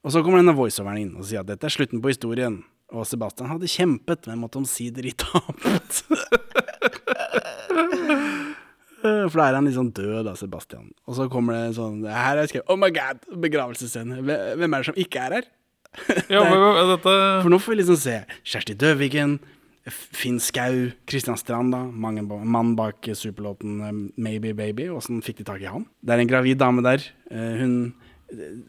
A: Og så kommer denne voiceoveren inn og sier at dette er slutten på historien. Og Sebastian hadde kjempet, men måtte omsider i tapet. [laughs] For da er han liksom død, da, Sebastian. Og så kommer det en sånn Her er det skrevet Oh my god! Begravelsesscene. Hve- Hvem er det som ikke er her?
B: Ja, men, men, dette,
A: For nå får vi liksom se Kjersti Døvigen, Finn Skau, Kristian Strand, da, mange ba- mann bak eh, superlåten eh, 'Maybe Baby'. Åssen fikk de tak i han? Det er en gravid dame der. Eh, Hun eh,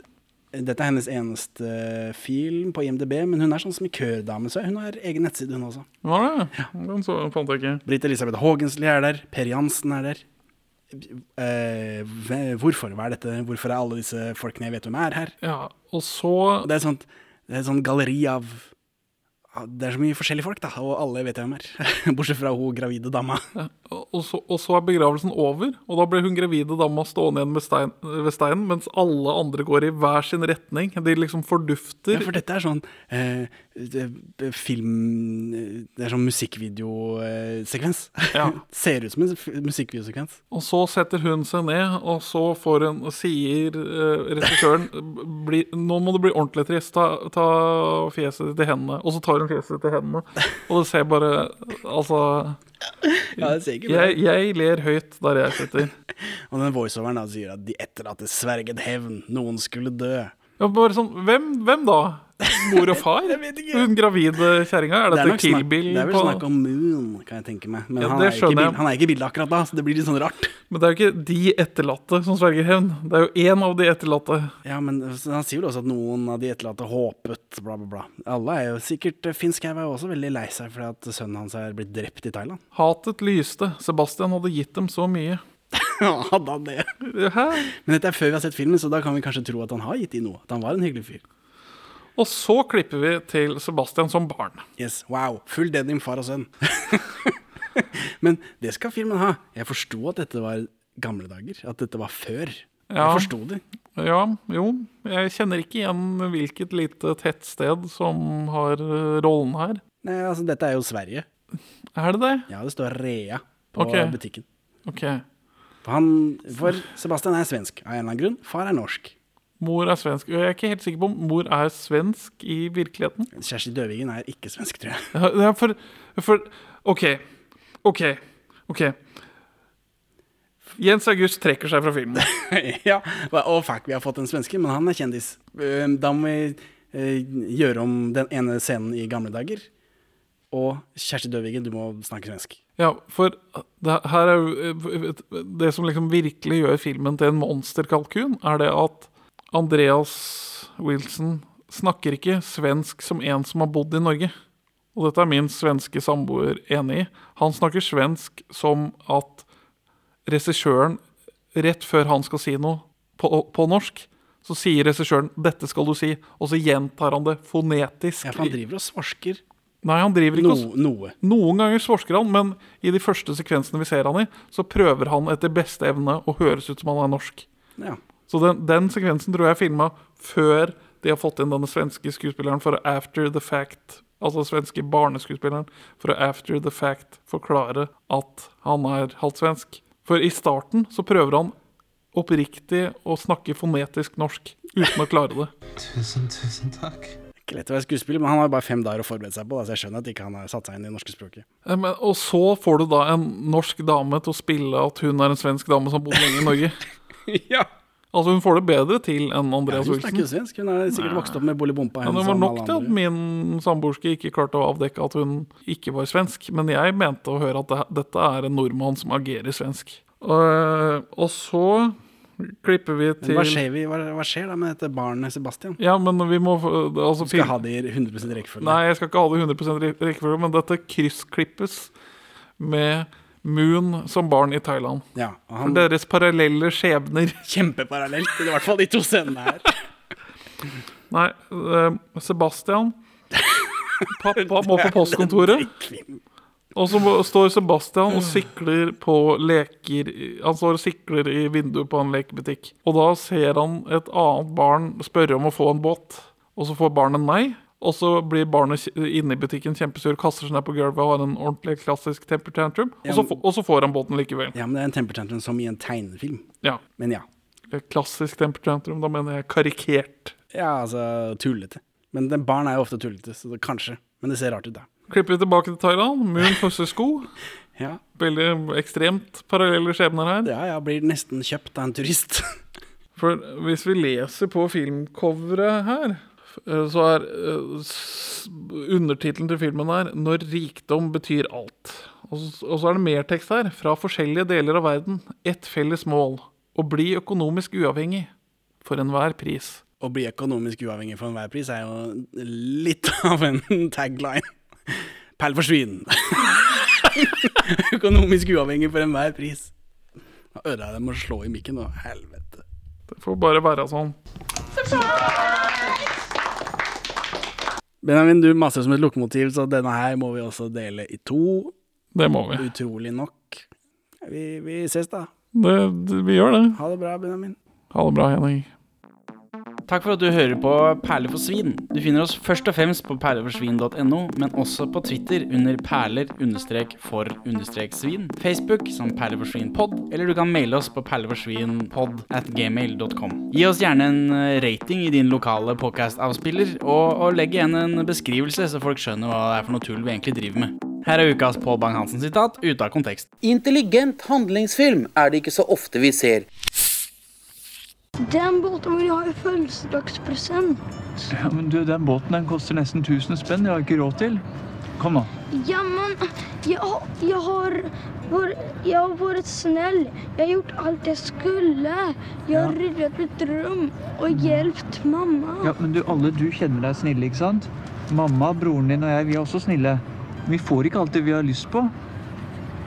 A: Dette er hennes eneste eh, film på IMDb, men hun er sånn smikørdame, så hun har egen nettside, hun også.
B: Var det? Den så, fant jeg ikke.
A: Britt Elisabeth Haagensli er der. Per Jansen er der. Eh, hve- hvorfor? Hva er dette? Hvorfor er alle disse folkene jeg vet hvem er, her?
B: Ja, og så
A: Og det er et sånt, det er et sånt galleri av av- Det er så mye forskjellige folk, da, og alle vet jeg hvem er. [laughs] Bortsett fra hun gravide dama.
B: Og så, og så er begravelsen over, og da ble hun gravide dama stående igjen med stein, ved steinen, mens alle andre går i hver sin retning. De liksom fordufter.
A: Ja, for dette er sånn eh, det- film Det er sånn musikkvideosekvens.
B: Ja.
A: [laughs] Ser ut som en f- musikkvideosekvens.
B: Og så setter hun seg ned, og så får hun, sier eh, regissøren [laughs] bli, Nå må du bli ordentlig trist. Ta, ta fjeset ditt i hendene. Og så tar hun fjeset ditt i hendene, og det ser bare Altså.
A: Ja, det ser ikke bra
B: Jeg, jeg ler høyt der jeg sitter.
A: Og den voiceoveren da sier at de etterlatte sverget hevn, noen skulle dø.
B: Ja, bare sånn, hvem, hvem da? Mor og
A: [laughs]
B: far? Hun gravide kjerringa? Er
A: Det er,
B: dette
A: nok
B: Kill
A: snakk,
B: Bill?
A: det er vel
B: på-
A: snakk om Moon, kan jeg tenke meg. Men
B: Ja,
A: han,
B: det
A: er ikke i
B: skjønner jeg.
A: bild, han er ikke i bildet akkurat da, så det blir litt sånn rart.
B: Men det er jo ikke de etterlatte som sverger hevn. Det er jo én av de etterlatte.
A: Ja, men så Han sier vel også at noen av de etterlatte håpet, bla, bla, bla. Alle er jo sikkert Finn Skau er jo også veldig lei seg fordi at sønnen hans er blitt drept i Thailand. [laughs]
B: Hatet lyste. Sebastian hadde gitt dem så mye.
A: Ja, hadde han det?
B: Hæ?
A: Men dette er før vi har sett filmen, så da kan vi kanskje tro at han har gitt de noe. At han var en hyggelig fyr.
B: Og så klipper vi til Sebastian som barn.
A: Yes, wow. Full denim, far og sønn. [laughs] Men det skal filmen ha. Jeg forsto at dette var gamle dager. At dette var før.
B: Ja.
A: Jeg forsto det.
B: Ja, jo. Jeg kjenner ikke igjen hvilket lite tettsted som har eh, rollen her.
A: Nei, altså, dette er jo Sverige.
B: Er det det?
A: Ja, det står Rea på
B: Ok.
A: butikken.
B: OK.
A: For, han, for Sebastian er svensk av en eller annen grunn. Far er norsk.
B: Mor er svensk. Jeg er ikke helt sikker på om mor er svensk i virkeligheten.
A: Kjersti Døvigen er ikke svensk, tror jeg.
B: Ja, det er for, for OK. OK. OK. Jens August trekker seg fra filmen.
A: [laughs] ja, Og fuck, vi har fått en svenske, men han er kjendis. Ehm, Da må vi eh, gjøre om den ene scenen i gamle dager. Og Kjersti Døvigen, du må snakke svensk.
B: Ja, for det her er jo Det som liksom virkelig gjør filmen til en monsterkalkun, er det at Andreas Wilson snakker ikke svensk som en som har bodd i Norge. Og dette er min svenske samboer enig i. Han snakker svensk som at regissøren, rett før han skal si noe på, på norsk, så sier regissøren 'dette skal du si', og så gjentar han det fonetisk.
A: Ja, for han driver og svorsker
B: Nei, han driver ikke
A: no,
B: og
A: noe.
B: noen ganger svorsker han, men i de første sekvensene vi ser han i, så prøver han etter beste evne å høres ut som han er norsk.
A: Ja.
B: Så den, den sekvensen tror jeg er filma før de har fått inn denne svenske skuespilleren for å after the fact Altså svenske barneskuespilleren for å after the fact forklare at han er halvt svensk. For i starten så prøver han oppriktig å snakke fonetisk norsk uten å klare det.
E: Tusen, tusen takk.
A: Ikke lett å være skuespiller, men han har bare fem dager å forberede seg på, da, så jeg skjønner at ikke han har satt seg inn i det norske språket.
B: Eh, Men, og så får du da en norsk dame til å spille at hun er en svensk dame som har bodd lenge i Norge.
A: ja.
B: Altså Hun får det bedre til enn Andreas
A: Hun snakker
B: Wilson.
A: jo svensk. Hun har sikkert vokst opp med Bolibompa.
B: Men det
A: hun,
B: var
A: som
B: nok
A: alle
B: til at
A: andre.
B: min samboerske ikke klarte å avdekke at hun ikke var svensk. Men jeg mente å høre at det, dette er en nordmann som agerer svensk. Og, eh, og så klipper vi
A: Men hva
B: til
A: skjer, vi, hva, hva skjer da med dette barnet Sebastian?
B: Ja, men vi må altså,
A: Skal ha det i 100 rekkefølge.
B: Nei, jeg skal ikke ha det i 100 re- rekkefølge, men dette kryssklippes med Moon som barn i Thailand.
A: Ja, og
B: For
A: han
B: deres parallelle skjebner.
A: Kjempeparallelt, i hvert fall de to scenene her.
B: [laughs] Nei, eh, Sebastian [laughs] Pappa må på postkontoret. Og så må- står Sebastian og sikler på leker i- Han står og sikler i vinduet på en lekebutikk. Og da ser han et annet barn spørre om å få en båt, og så får barnet nei. Og så blir barnet kj- inne i butikken kjempesur, kaster seg ned på gulvet og har en ordentlig klassisk temper tantrum. Og så, få- og så får han båten likevel.
A: Ja, men det er en temper tantrum som i en tegnefilm.
B: Ja,
A: Men ja.
B: Klassisk temper tantrum, da mener jeg karikert.
A: Ja, altså tullete. Men den barn er jo ofte tullete, så det, kanskje. Men det ser rart ut, da.
B: Klipper vi tilbake til Thailand. Moon pusser sko.
A: Ja,
B: Veldig ekstremt parallelle skjebner her.
A: ja, ja blir nesten kjøpt av en turist. [laughs]
B: For hvis vi leser på filmcoveret her eh, så er eh, s- undertittelen til filmen her 'Når rikdom betyr alt'. Og så, og så er det mer tekst her. Fra forskjellige deler av verden. Ett felles mål. Å bli økonomisk uavhengig. For enhver pris.
A: Å bli økonomisk uavhengig for enhver pris er jo litt [laughs] av en tagline. Perl for svin. [laughs] økonomisk uavhengig for enhver pris. Nå ødela jeg det med å slå i mikken nå. Helvete.
B: Det får bare være sånn.
A: Benjamin, du maser som et lukkemotiv, så denne her må vi også dele i to.
B: Det må vi.
A: Utrolig nok. Vi, vi ses, da.
B: Det, det, vi gjør det.
A: Ha det bra, Benjamin.
B: Ha det bra, Henning.
F: Takk for at du hører på Perler for svin. Du finner oss først og fremst på perleforsvin.no, men også på Twitter under perler-for-svin, Facebook som perleforsvinpod, eller du kan maile oss på perleforsvinpod at gmail.com. Gi oss gjerne en eh, rating i din lokale podcast-avspiller, og, og legg igjen en beskrivelse, så folk skjønner hva det er for noe tull vi egentlig driver med. Her er ukas Pål Bang-Hansen-sitat ute av kontekst.
G: Intelligent handlingsfilm er det ikke så ofte vi ser.
H: Den båten vil jeg ha i fødselsdagspresang.
I: Ja, men du, den båten den koster nesten 1000 spenn. Det har jeg ikke råd til. Kom nå.
H: Ja, men jeg, har- jeg, har, var, jeg har vært snill. Jeg har gjort alt jeg skulle. Jeg har ryddet mitt rom og hjulpet mamma.
I: Ja, men du, alle du kjenner deg snille, ikke sant? Mamma, broren din og jeg, vi er også snille. Vi får ikke alt det vi har lyst på.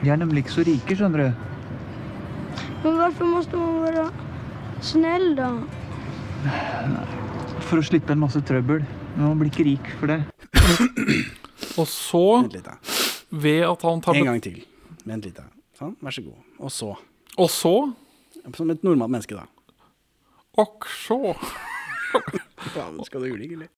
I: Vi er nemlig ikke så rike, skjønner du.
H: Men hvorfor måtte man være snill, da?
I: For å slippe en masse trøbbel. Men man blir ikke rik for det.
B: Og så,
A: Vent litt, da.
B: ved at han tar
A: En gang til. Vent litt, da. Sånn, vær så god. Og så.
B: Og så,
A: Som et normalt menneske, da.
B: og så
A: Faen, skal du ulike, eller?